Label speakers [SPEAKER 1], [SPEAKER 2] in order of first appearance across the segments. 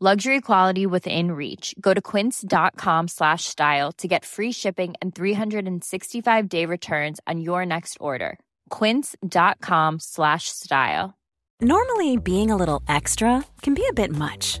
[SPEAKER 1] Luxury quality within reach. Go to quince.com slash style to get free shipping and 365 day returns on your next order. Quince.com slash style.
[SPEAKER 2] Normally, being a little extra can be a bit much,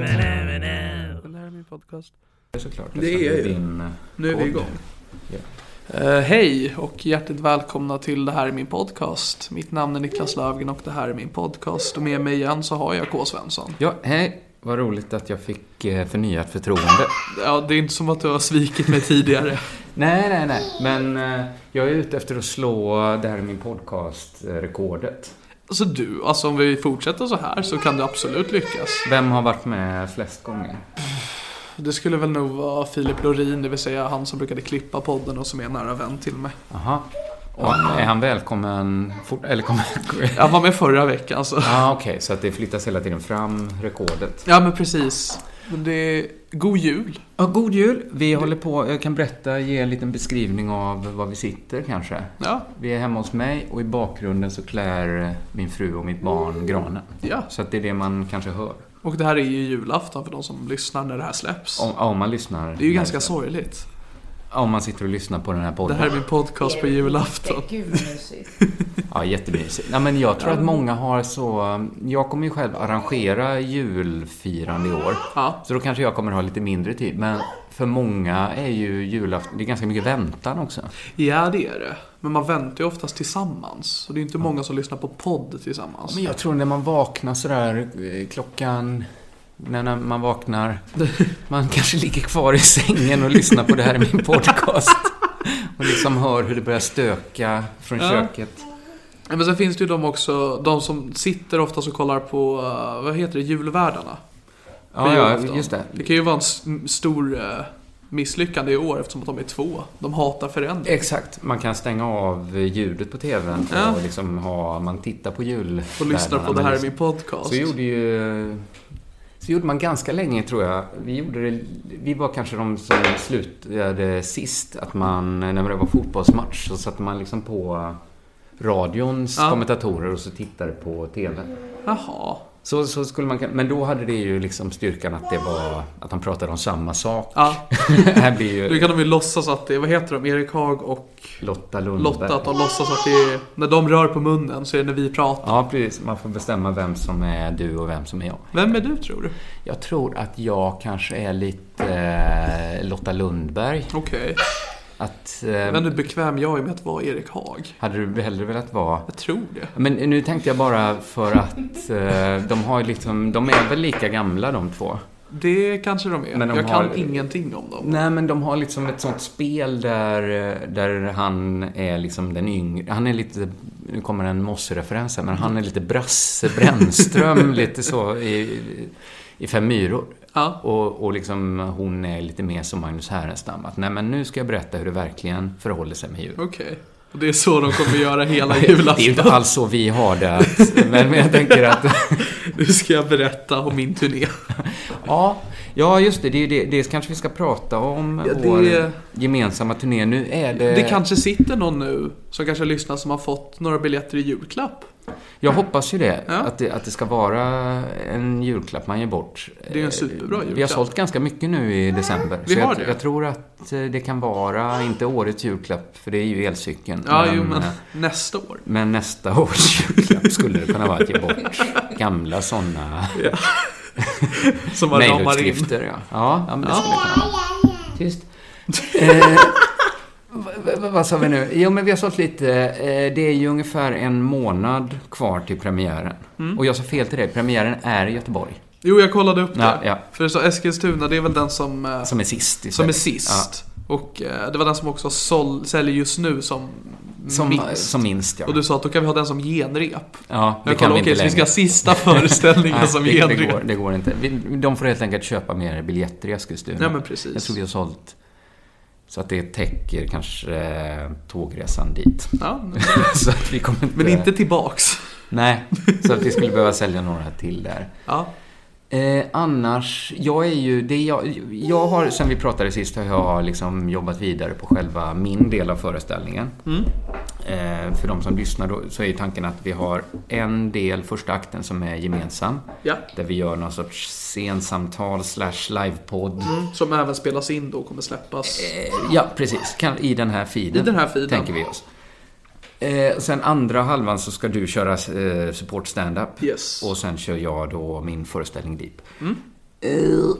[SPEAKER 3] Det här är min podcast.
[SPEAKER 4] Såklart.
[SPEAKER 3] Det är jag ju.
[SPEAKER 4] Din... eh,
[SPEAKER 3] Nu är vi
[SPEAKER 4] podd.
[SPEAKER 3] igång.
[SPEAKER 4] Ja.
[SPEAKER 3] Eh, hej och hjärtligt välkomna till Det här är min podcast. Mitt namn är Niklas Löfgren och det här är min podcast. Och med mig igen så har jag K. Svensson.
[SPEAKER 4] Ja, hej. Vad roligt att jag fick eh, förnyat förtroende.
[SPEAKER 3] Ja, det är inte som att du har svikit mig tidigare.
[SPEAKER 4] Nej, nej, nej. Men eh, jag är ute efter att slå det här är min podcast-rekordet.
[SPEAKER 3] Alltså du, alltså om vi fortsätter så här så kan du absolut lyckas.
[SPEAKER 4] Vem har varit med flest gånger?
[SPEAKER 3] Det skulle väl nog vara Filip Lorin, det vill säga han som brukade klippa podden och som är en nära vän till mig.
[SPEAKER 4] Jaha. Ja, är han välkommen fort? Eller kommer...
[SPEAKER 3] Han var med förra veckan så.
[SPEAKER 4] Ja, okej. så att det flyttas hela tiden fram, rekordet.
[SPEAKER 3] Ja men precis. Men det är god jul.
[SPEAKER 4] Ja, god jul. Vi håller på. Jag kan berätta, ge en liten beskrivning av var vi sitter kanske.
[SPEAKER 3] Ja,
[SPEAKER 4] Vi är hemma hos mig och i bakgrunden så klär min fru och mitt barn granen.
[SPEAKER 3] ja.
[SPEAKER 4] Så att det är det man kanske hör.
[SPEAKER 3] Och det här är ju julafton för de som lyssnar när det här släpps.
[SPEAKER 4] Om, om man lyssnar.
[SPEAKER 3] Det är ju ganska sorgligt.
[SPEAKER 4] Om man sitter och lyssnar på den här
[SPEAKER 3] Det
[SPEAKER 4] podden.
[SPEAKER 3] här är min podcast på julafton.
[SPEAKER 5] Gud vad mysigt.
[SPEAKER 4] Ja, jättemysigt. Nej, men jag tror att många har så... um, Jag kommer ju själv arrangera julfirande i år.
[SPEAKER 3] Ja.
[SPEAKER 4] Så då kanske jag kommer ha lite mindre tid. Men för många är ju julafton... Det är ganska mycket väntan också.
[SPEAKER 3] ja, det är det. Men man väntar ju oftast tillsammans. Så det är inte många som lyssnar på podd tillsammans.
[SPEAKER 4] Men jag tror när man vaknar sådär eh, klockan... När när man vaknar... Man kanske ligger kvar i sängen och lyssnar på det här i min podcast. Och liksom hör hur det börjar stöka från
[SPEAKER 3] Ja.
[SPEAKER 4] köket.
[SPEAKER 3] Ja, Men sen finns det ju de också, de som sitter oftast och kollar på, eh, vad heter det, julvärdarna. på
[SPEAKER 4] Ja, ja,
[SPEAKER 3] julafton.
[SPEAKER 4] just det.
[SPEAKER 3] Det kan ju vara en s- m- stor eh, misslyckande i år eftersom att de är två. De hatar förändring.
[SPEAKER 4] Exakt. Man kan stänga av ljudet på TVn och
[SPEAKER 3] Ja.
[SPEAKER 4] liksom ha... Man tittar på jul.
[SPEAKER 3] Och lyssnar på
[SPEAKER 4] men
[SPEAKER 3] det här i
[SPEAKER 4] liksom-
[SPEAKER 3] min podcast.
[SPEAKER 4] Så gjorde ju... Så gjorde man ganska länge tror jag. Vi, gjorde det, vi var kanske de som slutade sist. Att man, när det var fotbollsmatch, så satte man liksom på radions
[SPEAKER 3] Ja.
[SPEAKER 4] kommentatorer och så tittade på TV.
[SPEAKER 3] Jaha.
[SPEAKER 4] Så, så skulle man, kan- men då hade det ju liksom styrkan att det var att de pratade om samma sak.
[SPEAKER 3] Ja,
[SPEAKER 4] här blir
[SPEAKER 3] nu
[SPEAKER 4] ju
[SPEAKER 3] kan de ju låtsas att det är, vad heter de, Erik Haag och
[SPEAKER 4] Lotta Lundberg.
[SPEAKER 3] Lotta, att de låtsas att det är, när de rör på munnen så är det när vi pratar.
[SPEAKER 4] Ja, precis. Man får bestämma vem som är du och vem som är jag.
[SPEAKER 3] Vem är du tror du?
[SPEAKER 4] Jag tror att jag kanske är lite eh, Lotta Lundberg.
[SPEAKER 3] Okej.
[SPEAKER 4] Att,
[SPEAKER 3] Jag
[SPEAKER 4] eh,
[SPEAKER 3] vet inte hur bekväm jag är med att vara Erik Haag.
[SPEAKER 4] Hade du hellre velat vara...
[SPEAKER 3] Jag tror det.
[SPEAKER 4] Men nu tänkte jag bara för att eh, de har ju liksom, de är väl lika gamla de två?
[SPEAKER 3] Det kanske de är.
[SPEAKER 4] Men de
[SPEAKER 3] jag
[SPEAKER 4] har-
[SPEAKER 3] kan ingenting om dem.
[SPEAKER 4] Nej men de har liksom ett sånt spel där, eh, där han är liksom den yngre, han är lite, nu kommer en mossreferens här, men han är lite Brasse Brännström, lite så i, i Fem myror.
[SPEAKER 3] Ja.
[SPEAKER 4] Och, och liksom, hon är lite mer som Magnus Härenstam. Att nej, men nu ska jag berätta hur det verkligen förhåller sig med jul.
[SPEAKER 3] Okej. Och det är så de kommer göra hela
[SPEAKER 4] Det är ju
[SPEAKER 3] julafton.
[SPEAKER 4] inte alls så vi har det. Att, men, men jag tänker att...
[SPEAKER 3] Nu ska jag berätta om min turné.
[SPEAKER 4] Eh. Ja, ja just det. Det, är ju det. det kanske vi ska prata om.
[SPEAKER 3] Ja, det-
[SPEAKER 4] Vår gemensamma turné. Nu är det...
[SPEAKER 3] Det kanske sitter någon nu som kanske lyssnar som har fått några biljetter i julklapp.
[SPEAKER 4] Jag hoppas ju det,
[SPEAKER 3] Ja.
[SPEAKER 4] att det. Att det ska vara en julklapp man ger bort. Eh,
[SPEAKER 3] Det är ju en superbra
[SPEAKER 4] Vi har
[SPEAKER 3] julklapp.
[SPEAKER 4] sålt ganska mycket nu i december.
[SPEAKER 3] Vi
[SPEAKER 4] så
[SPEAKER 3] har
[SPEAKER 4] jag,
[SPEAKER 3] det.
[SPEAKER 4] jag tror att eh, det kan vara, inte årets julklapp, för det är ju elcykeln.
[SPEAKER 3] Ja, jo, men
[SPEAKER 4] eh,
[SPEAKER 3] nästa år.
[SPEAKER 4] men nästa års julklapp skulle det kunna vara att ge bort gamla sådana
[SPEAKER 3] Som man ramar in.
[SPEAKER 4] mejlutskrifter. Ja. Ja, ja, men det
[SPEAKER 3] Ja.
[SPEAKER 4] skulle det kunna vara. Tyst. Eh, vad, vad, vad sa vi nu? Jo, men vi har sålt lite. Eh, det är ju ungefär en månad kvar till premiären.
[SPEAKER 3] Mm.
[SPEAKER 4] Och jag sa fel till dig. Premiären är i Göteborg.
[SPEAKER 3] Jo, jag kollade upp det.
[SPEAKER 4] Ja, ja.
[SPEAKER 3] För så Eskilstuna, det är väl den som, eh,
[SPEAKER 4] Som är sist. i
[SPEAKER 3] som är
[SPEAKER 4] Sverige.
[SPEAKER 3] sist. Och eh, det var den som också sål, säljer just nu som,
[SPEAKER 4] Ja, som
[SPEAKER 3] minst.
[SPEAKER 4] minst. Som minst, ja.
[SPEAKER 3] Och du sa att då kan vi ha den som genrep.
[SPEAKER 4] ja det
[SPEAKER 3] Jag
[SPEAKER 4] kan
[SPEAKER 3] kollade,
[SPEAKER 4] vi
[SPEAKER 3] okej,
[SPEAKER 4] inte
[SPEAKER 3] så vi
[SPEAKER 4] längre.
[SPEAKER 3] ska ha sista föreställningen
[SPEAKER 4] Nej,
[SPEAKER 3] som
[SPEAKER 4] det, det,
[SPEAKER 3] genrep.
[SPEAKER 4] går, det går inte. Vi, de får helt enkelt köpa mer biljetter i Eskilstuna.
[SPEAKER 3] Nej, men precis.
[SPEAKER 4] Jag tror vi har sålt så att det täcker kanske eh, tågresan dit.
[SPEAKER 3] Ja,
[SPEAKER 4] så att vi kommer inte...
[SPEAKER 3] men inte tillbaks.
[SPEAKER 4] Nej, så att vi skulle behöva sälja några till där.
[SPEAKER 3] Ja.
[SPEAKER 4] Eh, annars, jag är ju... Det jag, jag har, sen vi pratade sist, har jag liksom jobbat vidare på själva min del av föreställningen.
[SPEAKER 3] Mm.
[SPEAKER 4] Eh, för de som lyssnar då, så är ju tanken att vi har en del, första akten, som är gemensam.
[SPEAKER 3] Ja.
[SPEAKER 4] Där vi gör någon sorts scensamtal slash livepodd.
[SPEAKER 3] Som även spelas in då och kommer släppas.
[SPEAKER 4] Eh, Ja, precis. Kan, I den här feeden.
[SPEAKER 3] I den här feeden.
[SPEAKER 4] Tänker vi oss. Eh, sen andra halvan så ska du köra eh, support stand-up.
[SPEAKER 3] Yes.
[SPEAKER 4] Och sen kör jag då min föreställning Deep.
[SPEAKER 3] Mm.
[SPEAKER 4] Eh,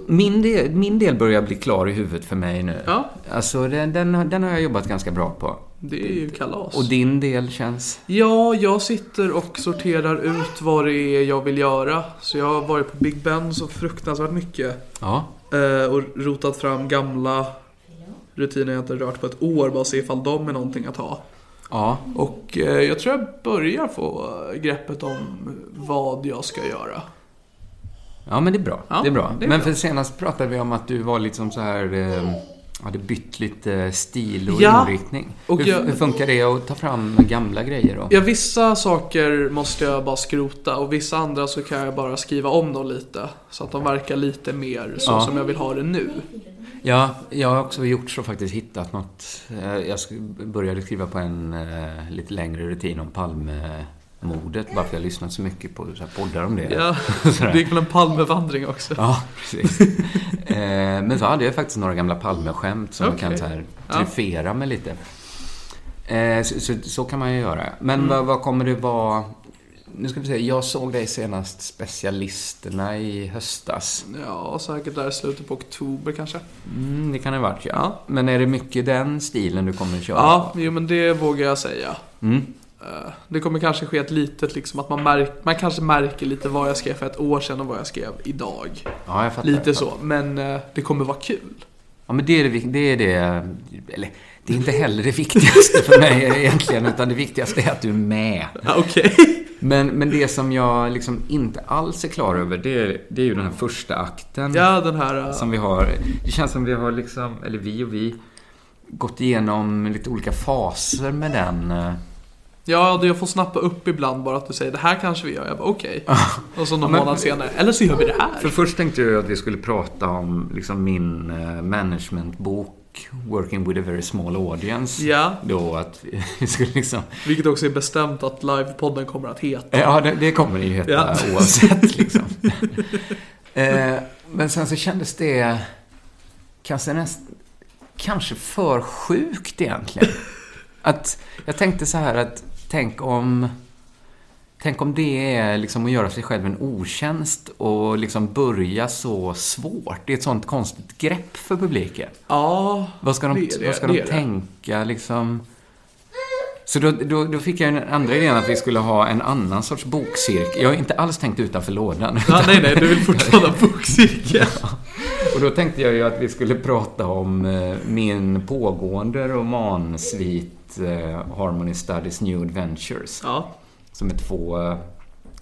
[SPEAKER 4] Min del, min del börjar bli klar i huvudet för mig nu.
[SPEAKER 3] Ja.
[SPEAKER 4] Alltså den, den, har- den har jag jobbat ganska bra på.
[SPEAKER 3] Det är ju kalas.
[SPEAKER 4] Och din del känns...
[SPEAKER 3] Ja, jag sitter och sorterar ut vad det är jag vill göra. Så jag har varit på Big Ben så fruktansvärt mycket.
[SPEAKER 4] Ja.
[SPEAKER 3] Eh, och rotat fram gamla rutiner jag inte rört på ett år. Bara se ifall de är någonting att ha.
[SPEAKER 4] Ja.
[SPEAKER 3] Och eh, jag tror jag börjar få greppet om vad jag ska göra.
[SPEAKER 4] Ja, men det är bra.
[SPEAKER 3] Ja,
[SPEAKER 4] det är bra.
[SPEAKER 3] det är
[SPEAKER 4] men
[SPEAKER 3] bra.
[SPEAKER 4] för senast pratade vi om att du var liksom så här... Eh, hade bytt lite stil och
[SPEAKER 3] Ja.
[SPEAKER 4] inriktning.
[SPEAKER 3] Och
[SPEAKER 4] hur,
[SPEAKER 3] jag-
[SPEAKER 4] hur funkar det att ta fram gamla grejer då?
[SPEAKER 3] Ja, vissa saker måste jag bara skrota och vissa andra så kan jag bara skriva om dem lite. Så att de verkar lite mer så
[SPEAKER 4] Ja.
[SPEAKER 3] som jag vill ha det nu.
[SPEAKER 4] Ja, jag har också gjort så faktiskt, hittat något. Eh, Jag sk- började skriva på en eh, lite längre rutin om Palmemordet, bara för jag har lyssnat så mycket på så här poddar om det.
[SPEAKER 3] Ja,
[SPEAKER 4] Sådär.
[SPEAKER 3] det gick väl en Palmevandring också.
[SPEAKER 4] Ja, precis. Eh, Men så hade jag faktiskt några gamla Palmeskämt som
[SPEAKER 3] Okej.
[SPEAKER 4] jag kan så här
[SPEAKER 3] Ja.
[SPEAKER 4] triffera med lite. Eh, Så, så, så kan man ju göra. Men vad, vad kommer det vara... Nu ska vi se, jag såg dig senast Specialisterna i höstas.
[SPEAKER 3] Ja, säkert där i slutet på oktober kanske.
[SPEAKER 4] Mm, det kan det ha varit, ja. Men är det mycket den stilen du kommer att köra?
[SPEAKER 3] Ja, jo men det vågar jag säga.
[SPEAKER 4] Mm.
[SPEAKER 3] Eh, Det kommer kanske ske ett litet liksom att man, märk- man kanske märker lite vad jag skrev för ett år sedan och vad jag skrev idag.
[SPEAKER 4] Ja, jag fattar.
[SPEAKER 3] Lite så, men eh, det kommer vara kul.
[SPEAKER 4] Ja, men det är det, vik- det är det... Eller, det är inte heller det viktigaste för mig egentligen, utan det viktigaste är att du är med.
[SPEAKER 3] Ja, Okej.
[SPEAKER 4] Men, men det som jag liksom inte alls är klar över, det är, det är ju den här första akten.
[SPEAKER 3] Ja, den här... eh,
[SPEAKER 4] Som vi har... Det känns som vi har liksom, eller vi och vi, gått igenom lite olika faser med den. eh.
[SPEAKER 3] Ja, det jag får snappa upp ibland bara att du säger det här kanske vi gör. Jag bara okej. Och så någon
[SPEAKER 4] Ja, men-
[SPEAKER 3] månad senare, eller så gör vi det
[SPEAKER 4] För
[SPEAKER 3] här.
[SPEAKER 4] först tänkte jag att vi skulle prata om liksom min eh, managementbok Working with a very small audience.
[SPEAKER 3] Ja.
[SPEAKER 4] Då att vi- vi skulle liksom
[SPEAKER 3] Vilket också är bestämt att livepodden kommer att heta.
[SPEAKER 4] Eh, Ja, det, det kommer det ju heta
[SPEAKER 3] Ja.
[SPEAKER 4] oavsett liksom. eh, men sen så kändes det kanske, näst, kanske för sjukt egentligen. Att jag tänkte så här att tänk om Tänk om det är liksom att göra sig själv en otjänst och liksom börja så svårt. Det är ett sånt konstigt grepp för publiken.
[SPEAKER 3] Ja,
[SPEAKER 4] Vad ska de,
[SPEAKER 3] Det är det,
[SPEAKER 4] vad ska
[SPEAKER 3] det
[SPEAKER 4] de
[SPEAKER 3] är det.
[SPEAKER 4] tänka liksom? Så då, då, då fick jag den andra idén att vi skulle ha en annan sorts bokcirkel. Jag har inte alls tänkt utanför lådan.
[SPEAKER 3] ja nej nej, du vill fortfarande ha bokcirkel.
[SPEAKER 4] Och då tänkte jag ju att vi skulle prata om eh, min pågående romansvit eh, Harmony Studies New Adventures.
[SPEAKER 3] Ja.
[SPEAKER 4] Som är två eh,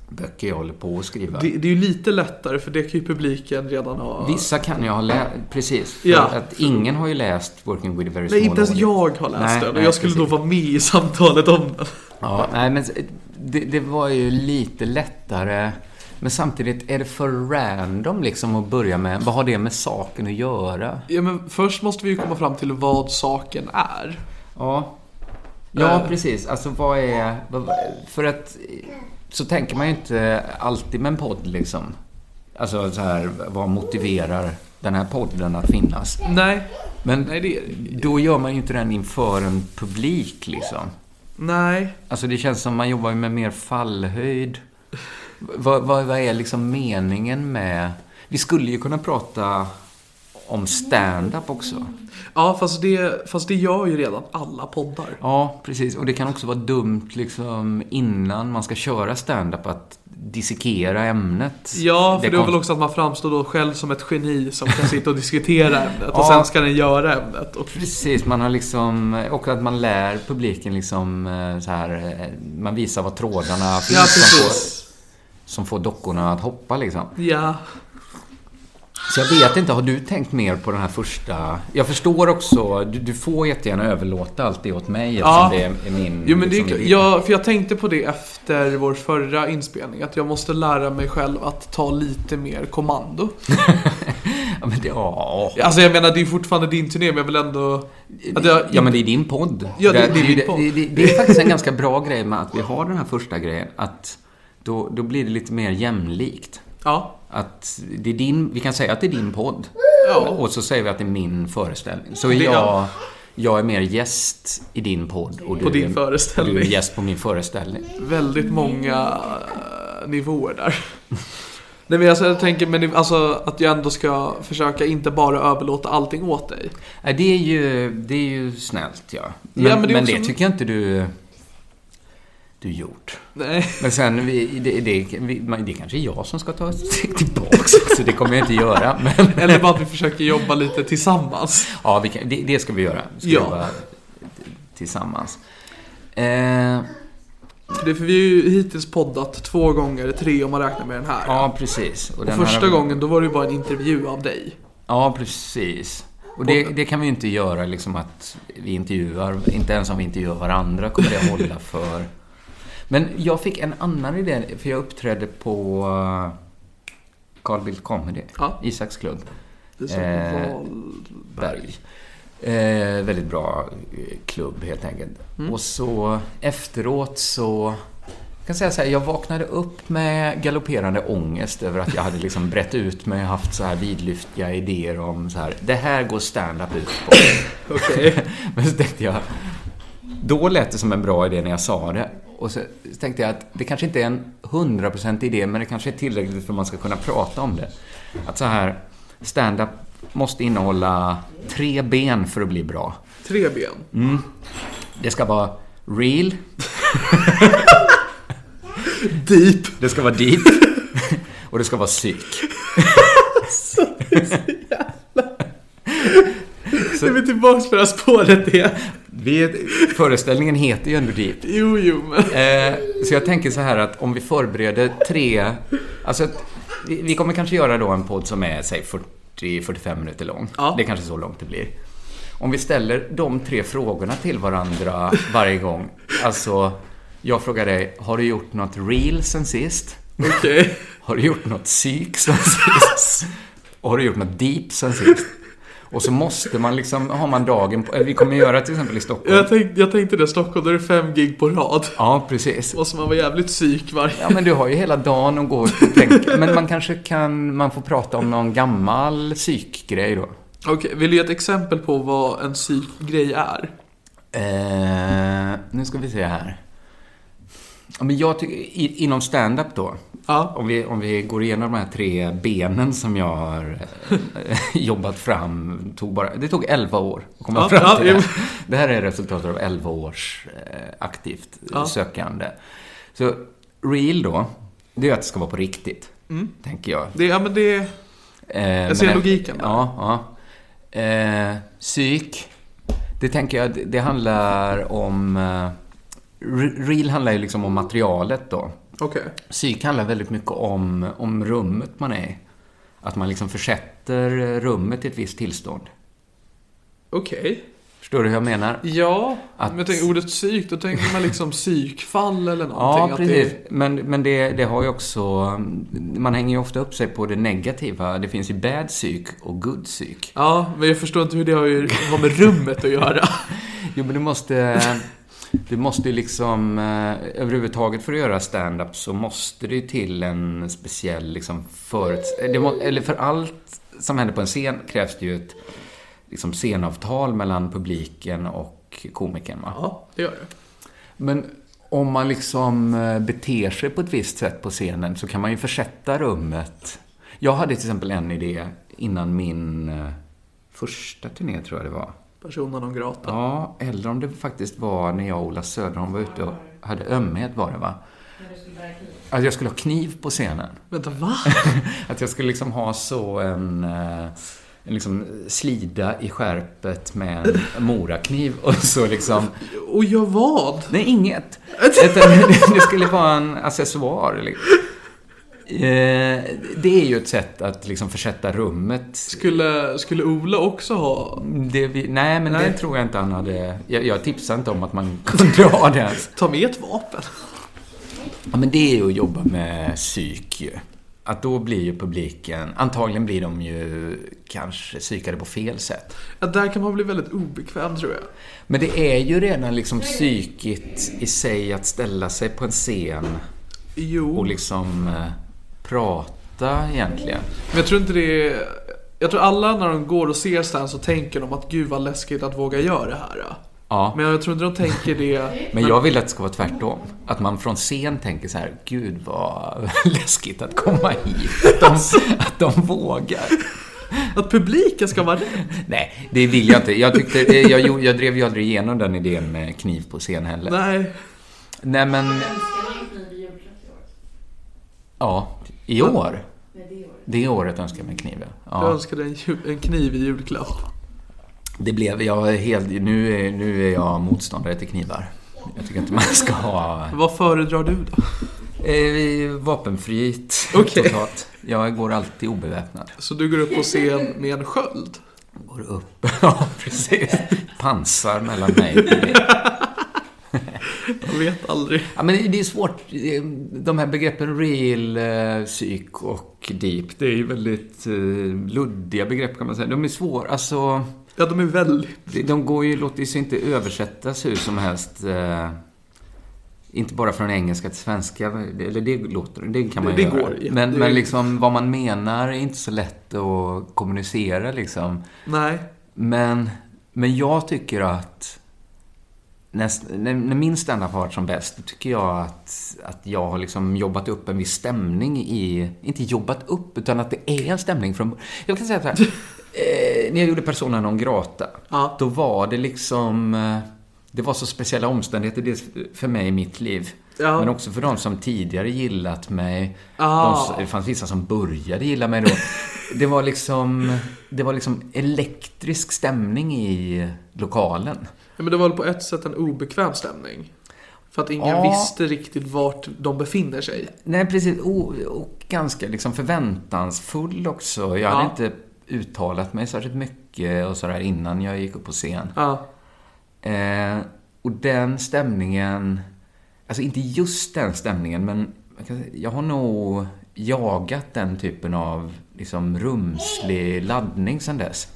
[SPEAKER 4] böcker jag håller på att skriva.
[SPEAKER 3] Det, det är ju lite lättare för det kan ju publiken redan ha...
[SPEAKER 4] Vissa kan jag ha läst, precis. För
[SPEAKER 3] Ja.
[SPEAKER 4] att ingen har ju läst Working with a very
[SPEAKER 3] Nej,
[SPEAKER 4] small
[SPEAKER 3] inte ens
[SPEAKER 4] Audience.
[SPEAKER 3] jag har läst
[SPEAKER 4] Nej,
[SPEAKER 3] den och
[SPEAKER 4] nej,
[SPEAKER 3] jag skulle
[SPEAKER 4] precis.
[SPEAKER 3] då vara med i samtalet om den.
[SPEAKER 4] Ja, nej, men det, det var ju lite lättare. Men samtidigt, är det för random liksom att börja med? Vad har det med saken att göra?
[SPEAKER 3] Ja, men först måste vi ju komma fram till vad saken är.
[SPEAKER 4] Ja. Ja,
[SPEAKER 3] Eh.
[SPEAKER 4] precis. Alltså vad är... Vad, för att... Så tänker man ju inte alltid med en podd liksom. Alltså så här, vad motiverar den här podden att finnas?
[SPEAKER 3] Nej,
[SPEAKER 4] Men
[SPEAKER 3] nej det är
[SPEAKER 4] då gör man ju inte den inför en publik liksom.
[SPEAKER 3] Nej.
[SPEAKER 4] Alltså det känns som man jobbar ju med mer fallhöjd. Vad, vad, vad är liksom meningen med... Vi skulle ju kunna prata om stand-up också.
[SPEAKER 3] Ja, fast det, fast det gör ju redan alla poddar.
[SPEAKER 4] Ja, precis. Och det kan också vara dumt liksom innan man ska köra stand-up att dissekera ämnet.
[SPEAKER 3] Ja, för det är
[SPEAKER 4] kon-
[SPEAKER 3] väl också att man framstår då själv som ett geni som kan sitta och diskutera ämnet och
[SPEAKER 4] Ja.
[SPEAKER 3] sen ska den göra ämnet. Och,
[SPEAKER 4] Precis, man har liksom, och att man lär publiken liksom eh, så här, eh, man visar vad trådarna finns
[SPEAKER 3] ja,
[SPEAKER 4] som, får,
[SPEAKER 3] precis.
[SPEAKER 4] som får dockorna att hoppa liksom.
[SPEAKER 3] Ja.
[SPEAKER 4] Så jag vet inte, har du tänkt mer på den här första? Jag förstår också, du, du får jättegärna överlåta allt det åt mig eftersom
[SPEAKER 3] Ja.
[SPEAKER 4] det är är min...
[SPEAKER 3] Jo, men det,
[SPEAKER 4] liksom,
[SPEAKER 3] är-
[SPEAKER 4] idé.
[SPEAKER 3] jag, för jag tänkte på det efter vår förra inspelning, att jag måste lära mig själv att ta lite mer kommando.
[SPEAKER 4] Ja, men det, ja.
[SPEAKER 3] Alltså jag menar, det är ju fortfarande din turné, men jag vill ändå... Att jag,
[SPEAKER 4] Ja men det är din podd.
[SPEAKER 3] Ja, det-
[SPEAKER 4] Där-
[SPEAKER 3] det är min podd.
[SPEAKER 4] Det, det, det är faktiskt en ganska bra grej med att vi har den här första grejen. Att då, då blir det lite mer jämlikt.
[SPEAKER 3] Ja.
[SPEAKER 4] Att det är din, vi kan säga att det är din podd.
[SPEAKER 3] ja.
[SPEAKER 4] Och så säger vi att det är min föreställning. Så är
[SPEAKER 3] Det-
[SPEAKER 4] jag,
[SPEAKER 3] ja.
[SPEAKER 4] jag är mer gäst i din podd. Och du,
[SPEAKER 3] På din
[SPEAKER 4] är-
[SPEAKER 3] föreställning.
[SPEAKER 4] Och du är gäst på min föreställning.
[SPEAKER 3] väldigt många eh, nivåer där. Nej men alltså, jag tänker men, alltså, att jag ändå ska försöka inte bara överlåta allting åt dig.
[SPEAKER 4] Nej, det är ju, det är ju snällt ja. Men,
[SPEAKER 3] Ja,
[SPEAKER 4] men,
[SPEAKER 3] men
[SPEAKER 4] det,
[SPEAKER 3] det är också-
[SPEAKER 4] tycker jag inte du, du gjort.
[SPEAKER 3] Nej.
[SPEAKER 4] Men sen, vi, det, det, vi, man- det kanske är jag som ska ta ett steg tillbaks, så det kommer jag inte göra. Men
[SPEAKER 3] Eller bara att vi försöker jobba lite tillsammans.
[SPEAKER 4] ja, vi kan, det, det ska vi göra. Vi ska
[SPEAKER 3] Ja.
[SPEAKER 4] jobba tillsammans. Eh,
[SPEAKER 3] Det är för vi har ju hittills poddat två gånger, tre om man räknar med den här.
[SPEAKER 4] ja, precis. Och, den här
[SPEAKER 3] Första
[SPEAKER 4] har vi-
[SPEAKER 3] gången då var det ju bara en intervju av dig.
[SPEAKER 4] Ja, precis. Och det, det kan vi ju inte göra, liksom att vi intervjuar, inte ens om vi intervjuar varandra kommer det att hålla för. Men jag fick en annan idé, för jag uppträdde på eh, Carl Bildt Comedy,
[SPEAKER 3] Ja.
[SPEAKER 4] Isaks klubb.
[SPEAKER 3] Det som
[SPEAKER 4] Eh.
[SPEAKER 3] var-
[SPEAKER 4] Berg. Eh, väldigt bra eh, klubb helt enkelt. Och så efteråt så jag kan säga så här, jag vaknade upp med galopperande ångest över att jag hade liksom brett ut mig och haft så här vidlyftiga idéer om så här, det här går stand-up ut på.
[SPEAKER 3] Okej.
[SPEAKER 4] Men så tänkte jag, då lät det som en bra idé när jag sa det. Och så tänkte jag att det kanske inte är en 100% idé, men det kanske är tillräckligt för att man ska kunna prata om det. Att så här, stand-up måste innehålla tre ben för att bli bra.
[SPEAKER 3] Tre ben.
[SPEAKER 4] Mm. Det ska vara real,
[SPEAKER 3] Deep.
[SPEAKER 4] det ska vara deep och det ska vara psyk.
[SPEAKER 3] Nu är vi tillbaks på det här spåret igen.
[SPEAKER 4] Vi, föreställningen heter ju ändå deep.
[SPEAKER 3] Jo, jo, men...
[SPEAKER 4] Eh, så jag tänker så här att om vi förbereder tre... Alltså, att vi, vi kommer kanske göra då en podd som är, säg 40-45 minuter lång.
[SPEAKER 3] Ja.
[SPEAKER 4] Det är kanske så långt det blir. Om vi ställer de tre frågorna till varandra varje gång. Alltså, jag frågar dig, har du gjort något real sen sist?
[SPEAKER 3] Okej.
[SPEAKER 4] Har du gjort något psyk sen sist? Och har du gjort något deep sen sist? Och så måste man liksom, har man dagen på, eller vi kommer göra till exempel i Stockholm.
[SPEAKER 3] Jag, tänkte, jag tänkte det, Stockholm, då är det fem gig på rad.
[SPEAKER 4] Ja, precis.
[SPEAKER 3] Måste man vara jävligt psyk varje...
[SPEAKER 4] Ja, men du har ju hela dagen att gå och tänka. Men man kanske kan, man får prata om någon gammal psykgrej då.
[SPEAKER 3] Okej, vill du ge ett exempel på vad en psykgrej är?
[SPEAKER 4] Eh, nu ska vi se här. Ja, men jag tycker, i- inom stand-up då,
[SPEAKER 3] Ja.
[SPEAKER 4] om vi, om vi går igenom de här tre benen som jag har eh, jobbat fram, tog bara, det tog 11 år att komma
[SPEAKER 3] Ja,
[SPEAKER 4] fram
[SPEAKER 3] ja,
[SPEAKER 4] till det.
[SPEAKER 3] jo.
[SPEAKER 4] här. Det här är resultatet av 11 års eh, aktivt eh,
[SPEAKER 3] Ja.
[SPEAKER 4] sökande. Så real då, det är att det ska vara på riktigt,
[SPEAKER 3] Mm.
[SPEAKER 4] tänker jag.
[SPEAKER 3] Det, ja, men det...
[SPEAKER 4] Eh,
[SPEAKER 3] ser
[SPEAKER 4] men-
[SPEAKER 3] logiken där.
[SPEAKER 4] Ja, ja. Eh, psyk. Det tänker jag, det- det handlar om... Eh, re- real handlar ju liksom om materialet då.
[SPEAKER 3] Okej.
[SPEAKER 4] Psyk handlar väldigt mycket om, om rummet man är i. Att man liksom försätter rummet i ett visst tillstånd.
[SPEAKER 3] Okej.
[SPEAKER 4] Förstår du hur jag menar?
[SPEAKER 3] Ja,
[SPEAKER 4] Att-
[SPEAKER 3] men jag tänker ordet psyk, då tänker man liksom psykfall eller någonting.
[SPEAKER 4] Ja,
[SPEAKER 3] att
[SPEAKER 4] precis.
[SPEAKER 3] Det,
[SPEAKER 4] Men, men det, det har ju också... Man hänger ju ofta upp sig på det negativa. Det finns ju bad psyk och good psyk.
[SPEAKER 3] ja, men jag förstår inte hur det har, ju, har med rummet att göra.
[SPEAKER 4] Jo, men du måste... Du måste ju liksom... eh, Överhuvudtaget för att göra stand-up så måste det ju till en speciell liksom föruts... eh, det må- Eller för allt som händer på en scen krävs det ju ett liksom scenavtal mellan publiken och komikern. Va?
[SPEAKER 3] Ja, det gör det.
[SPEAKER 4] Men om man liksom eh, beter sig på ett visst sätt på scenen så kan man ju försätta rummet. Jag hade till exempel en idé innan min eh, första turné, tror jag det var.
[SPEAKER 3] Personen om grata.
[SPEAKER 4] Ja, eller om det faktiskt var när jag och Ola Söderholm var ute och hade ömhet, var det va? Att jag skulle ha kniv på scenen.
[SPEAKER 3] Vänta, va?
[SPEAKER 4] Att jag skulle liksom ha så en, eh, en liksom slida i skärpet med en morakniv och så liksom
[SPEAKER 3] Och gör vad?
[SPEAKER 4] Nej, inget. Utan det- det skulle vara en accessoar. Liksom. Eh, Det är ju ett sätt att liksom försätta rummet.
[SPEAKER 3] Skulle, skulle Ola också ha...
[SPEAKER 4] Det vi, nej, men
[SPEAKER 3] Nej.
[SPEAKER 4] det tror jag inte han hade. Jag, jag tipsar inte om att man kunde ha det ens.
[SPEAKER 3] Ta med ett vapen?
[SPEAKER 4] Ja, men det är ju att jobba med psyk ju. Att då blir ju publiken, antagligen blir de ju kanske psykade på fel sätt.
[SPEAKER 3] Ja, där kan man bli väldigt obekväm tror jag.
[SPEAKER 4] Men det är ju redan liksom psykigt i sig att ställa sig på en scen
[SPEAKER 3] Jo,
[SPEAKER 4] och liksom eh, prata egentligen.
[SPEAKER 3] men jag tror inte det är... Jag tror alla när de går och ser stand så tänker de att gud vad läskigt att våga göra det här. ja.
[SPEAKER 4] Ja, men,
[SPEAKER 3] Men jag tror inte de tänker det...
[SPEAKER 4] jag vill att det ska vara tvärtom. Att man från scen tänker så här, gud vad läskigt att komma hit. Att de, att de vågar.
[SPEAKER 3] Att publiken ska vara rädd.
[SPEAKER 4] Nej, det vill jag inte. Jag, tyckte, eh, jag, gjorde- jag drev ju aldrig igenom den idén med kniv på scen heller. Nej,
[SPEAKER 3] Nej.
[SPEAKER 4] men, ja, i år. Det året önskar jag mig kniv, ja.
[SPEAKER 3] Jag
[SPEAKER 4] ja.
[SPEAKER 3] önskade en, ju- en kniv i julklapp.
[SPEAKER 4] Det blev, jag är helt, nu är, nu är jag motståndare till knivar. Jag tycker inte man ska ha
[SPEAKER 3] Vad föredrar du då?
[SPEAKER 4] eh, vapenfritt
[SPEAKER 3] Okej.
[SPEAKER 4] totalt. Jag går alltid obeväpnad.
[SPEAKER 3] Så du går upp på scen med en sköld?
[SPEAKER 4] Går upp. Ja, precis. Pansar mellan mig och det.
[SPEAKER 3] Jag vet aldrig.
[SPEAKER 4] Ja, men det är svårt. De här begreppen real, eh, psyk och deep, det är ju väldigt eh, luddiga begrepp kan man säga. De är svåra. Alltså,
[SPEAKER 3] Ja, de är väldigt...
[SPEAKER 4] det- de går ju, låter sig inte översättas hur som helst. eh, Inte bara från engelska till svenska, eller det låter, det kan man
[SPEAKER 3] Det-
[SPEAKER 4] ju
[SPEAKER 3] det
[SPEAKER 4] göra.
[SPEAKER 3] går, ja.
[SPEAKER 4] Men,
[SPEAKER 3] Det-
[SPEAKER 4] men liksom vad man menar är inte så lätt att kommunicera liksom.
[SPEAKER 3] Nej.
[SPEAKER 4] Men, men jag tycker att näst, när, när min standup har varit som bäst, då tycker jag att, att jag har liksom jobbat upp en viss stämning i... Inte jobbat upp, utan att det är en stämning från... Jag kan säga så här. eh, när jag gjorde Persona non grata,
[SPEAKER 3] Ja.
[SPEAKER 4] då var det liksom... eh, Det var så speciella omständigheter dels för mig i mitt liv.
[SPEAKER 3] Ja.
[SPEAKER 4] Men också för de som tidigare gillat mig.
[SPEAKER 3] Ah.
[SPEAKER 4] De, s- det fanns vissa som började gilla mig då. Det var liksom, det var liksom elektrisk stämning i lokalen.
[SPEAKER 3] Ja, men det var väl på ett sätt en obekväm stämning. För att ingen
[SPEAKER 4] Ja.
[SPEAKER 3] visste riktigt vart de befinner sig.
[SPEAKER 4] Nej, precis. Och, och ganska liksom förväntansfull också. Jag
[SPEAKER 3] Ja.
[SPEAKER 4] hade inte uttalat mig särskilt mycket och sådär innan jag gick upp på scen.
[SPEAKER 3] Ja.
[SPEAKER 4] Eh, och den stämningen, alltså inte just den stämningen, men jag, kan säga, jag har nog jagat den typen av liksom rumslig laddning sedan dess.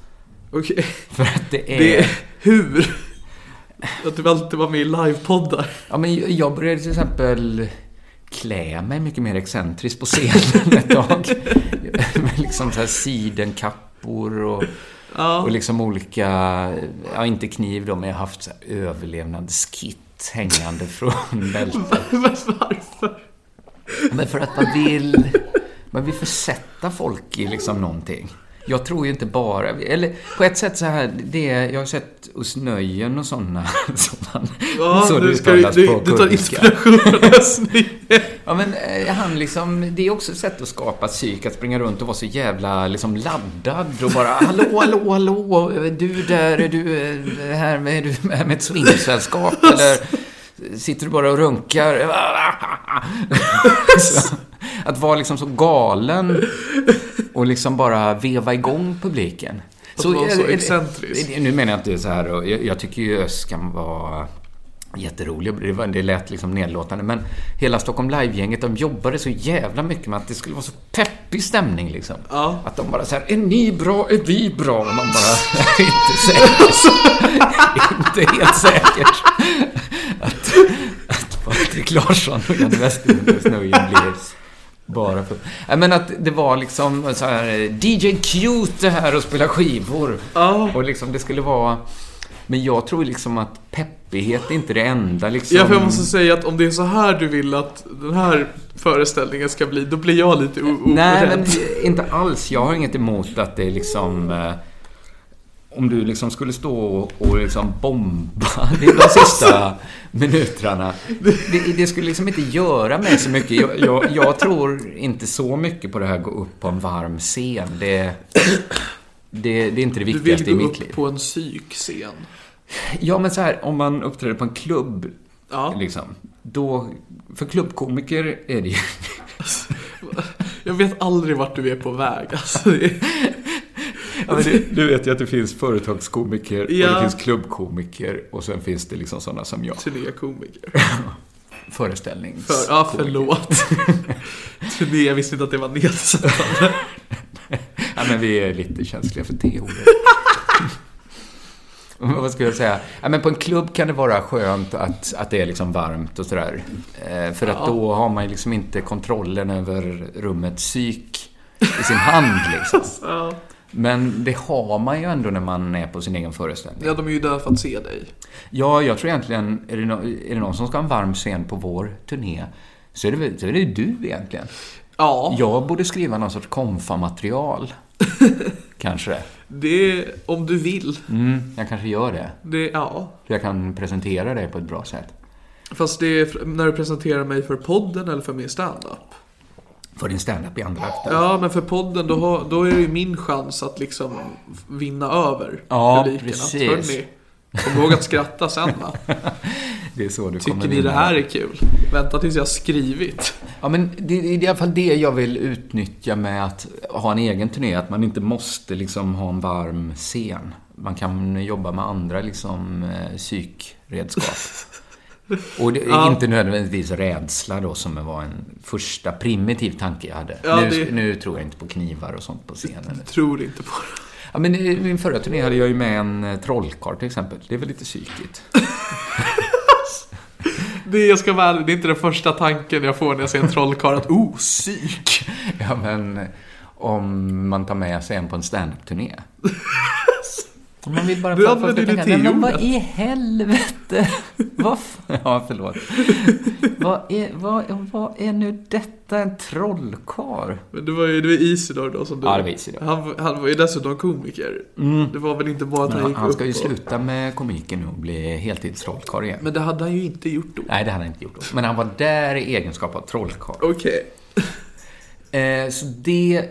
[SPEAKER 3] Okej.
[SPEAKER 4] För att det är...
[SPEAKER 3] Det... Hur? Att du alltid var med i livepoddar.
[SPEAKER 4] Ja, men jag- jag började till exempel klä mig mycket mer excentriskt på scenen ett tag. Med liksom så här sidenkappor och,
[SPEAKER 3] Ja.
[SPEAKER 4] och liksom olika, ja inte kniv då, men jag har haft så här överlevnadskit hängande från bältet.
[SPEAKER 3] Men varför?
[SPEAKER 4] Men för att man vill, man vill försätta folk i liksom någonting. Jag tror ju inte bara, eller på ett sätt så här, det, jag har sett Özz Nöjen och sådana som man,
[SPEAKER 3] Ja,
[SPEAKER 4] så
[SPEAKER 3] nu
[SPEAKER 4] det
[SPEAKER 3] ska du,
[SPEAKER 4] uttalas
[SPEAKER 3] du,
[SPEAKER 4] på
[SPEAKER 3] du tar
[SPEAKER 4] kurdiska.
[SPEAKER 3] inspiration från Özz
[SPEAKER 4] Ja men eh, han liksom, det är också ett sätt att skapa psyk, att springa runt och vara så jävla liksom laddad och bara hallå, hallå, hallå, eh, du där, är du eh, här med, är du här med ett swingsällskap eller sitter du bara och runkar? så, att vara liksom så galen och liksom bara veva igång publiken.
[SPEAKER 3] Att vara så
[SPEAKER 4] är- är-
[SPEAKER 3] excentrisk.
[SPEAKER 4] är- Nu menar jag inte så här, och jag, jag tycker ju Ös kan vara jätterolig, det, var, det lät liksom nedlåtande, men hela Stockholm Live-gänget, de jobbade så jävla mycket med att det skulle vara så peppig stämning liksom.
[SPEAKER 3] Ja.
[SPEAKER 4] Att de bara så här, är ni bra, är vi bra? Och man bara, inte säkert. inte helt säkert. Att, att Patrik Larsson och Janne Westerlund och Snöjen blir bara för... Nej, men att det var liksom så här, DJ Cute här och spela skivor.
[SPEAKER 3] Ja.
[SPEAKER 4] Och liksom det skulle vara... Men jag tror liksom att peppighet är inte det enda liksom.
[SPEAKER 3] Ja, för jag måste säga att om det är så här du vill att den här föreställningen ska bli, då blir jag lite o-
[SPEAKER 4] Nej, men
[SPEAKER 3] orädd.
[SPEAKER 4] inte alls. Jag har inget emot att det är liksom... Eh, om du liksom skulle stå och, och liksom bomba i de sista minuterna. Det, det skulle liksom inte göra mig så mycket. Jag, jag, jag tror inte så mycket på det här att gå upp på en varm scen. Det, det, det är inte det
[SPEAKER 3] Du
[SPEAKER 4] viktigaste i
[SPEAKER 3] vill gå
[SPEAKER 4] mitt liv.
[SPEAKER 3] upp på en psykscen.
[SPEAKER 4] Ja, men så här, om man uppträder på en klubb,
[SPEAKER 3] Ja.
[SPEAKER 4] liksom. Då, för klubbkomiker är det ju...
[SPEAKER 3] Jag vet aldrig vart du är på väg. Alltså, det är...
[SPEAKER 4] Ja, men du, du vet ju att det finns företagskomiker och
[SPEAKER 3] Ja.
[SPEAKER 4] det finns klubbkomiker och sen finns det liksom sådana som jag.
[SPEAKER 3] Turnékomiker.
[SPEAKER 4] Föreställnings...
[SPEAKER 3] För, ja, förlåt. Turné, jag visste inte att det var nedsättande.
[SPEAKER 4] Ja, men vi är lite känsliga för det ordet. Vad skulle jag säga? Ja, men på en klubb kan det vara skönt att, att det är liksom varmt och sådär. Eh, för att då har man ju liksom inte kontrollen över rummets psyk i sin hand liksom.
[SPEAKER 3] Ja.
[SPEAKER 4] Men det har man ju ändå när man är på sin egen föreställning.
[SPEAKER 3] ja, de är ju där för att se dig.
[SPEAKER 4] Ja, jag tror egentligen, är det, nå- är det någon som ska ha en varm scen på vår turné så är det, väl- så är det ju du egentligen.
[SPEAKER 3] Ja,
[SPEAKER 4] Jag borde skriva någon sorts konfamaterial. kanske.
[SPEAKER 3] det är om du vill.
[SPEAKER 4] Mm, jag kanske gör det.
[SPEAKER 3] Det, ja.
[SPEAKER 4] Så jag kan presentera det på ett bra sätt.
[SPEAKER 3] Fast det är fr- när du presenterar mig för podden eller för min standup.
[SPEAKER 4] För din standup i andra akten.
[SPEAKER 3] Ja, men för podden då, har, då är det ju min chans att liksom vinna över
[SPEAKER 4] Ja,
[SPEAKER 3] publiken. Att,
[SPEAKER 4] precis.
[SPEAKER 3] "Hörni, Kom ihåg att skratta sen va?
[SPEAKER 4] Det är så du kommer
[SPEAKER 3] Tycker ni
[SPEAKER 4] in.
[SPEAKER 3] det här är kul? Vänta tills jag har skrivit.
[SPEAKER 4] Ja, men det är i alla fall det jag vill utnyttja med att ha en egen turné. Att man inte måste liksom ha en varm scen. Man kan jobba med andra liksom eh, psykredskap. Och det är
[SPEAKER 3] Ja.
[SPEAKER 4] inte nödvändigtvis rädsla då som var en första primitiv tanke jag hade.
[SPEAKER 3] Ja,
[SPEAKER 4] nu,
[SPEAKER 3] det-
[SPEAKER 4] nu tror jag inte på knivar och sånt på scenen.
[SPEAKER 3] Tror inte på det.
[SPEAKER 4] Ja, men i min förra turné hade jag ju med en eh, trollkarl till exempel. Det är väl lite psykigt.
[SPEAKER 3] Det, jag ska vara ärlig, det är inte den första tanken jag får när jag ser en trollkarl att oh, psyk!
[SPEAKER 4] Ja, men eh, om man tar med sig en på en standup-turné. Om Man vill bara
[SPEAKER 3] Du använder
[SPEAKER 4] folk att tänka,
[SPEAKER 3] det till
[SPEAKER 4] "Nej, men Vad
[SPEAKER 3] ordet."
[SPEAKER 4] i helvete? Vad f- ja, förlåt. vad, är, vad, vad är nu detta? En trollkarl?
[SPEAKER 3] Men det var ju det var Isidor då som du...
[SPEAKER 4] Ja, det var Isidor. Mm.
[SPEAKER 3] Han, han var ju dessutom komiker. Det var väl inte bara att
[SPEAKER 4] Men
[SPEAKER 3] han
[SPEAKER 4] han,
[SPEAKER 3] gick
[SPEAKER 4] han
[SPEAKER 3] upp
[SPEAKER 4] ska ju
[SPEAKER 3] och-
[SPEAKER 4] sluta med komiken nu och bli heltidstrollkarl igen.
[SPEAKER 3] Men det hade han ju inte gjort då.
[SPEAKER 4] Nej, det hade han inte gjort. då. Men han var där i egenskap av trollkarl.
[SPEAKER 3] Okej.
[SPEAKER 4] Eh, så det, eh,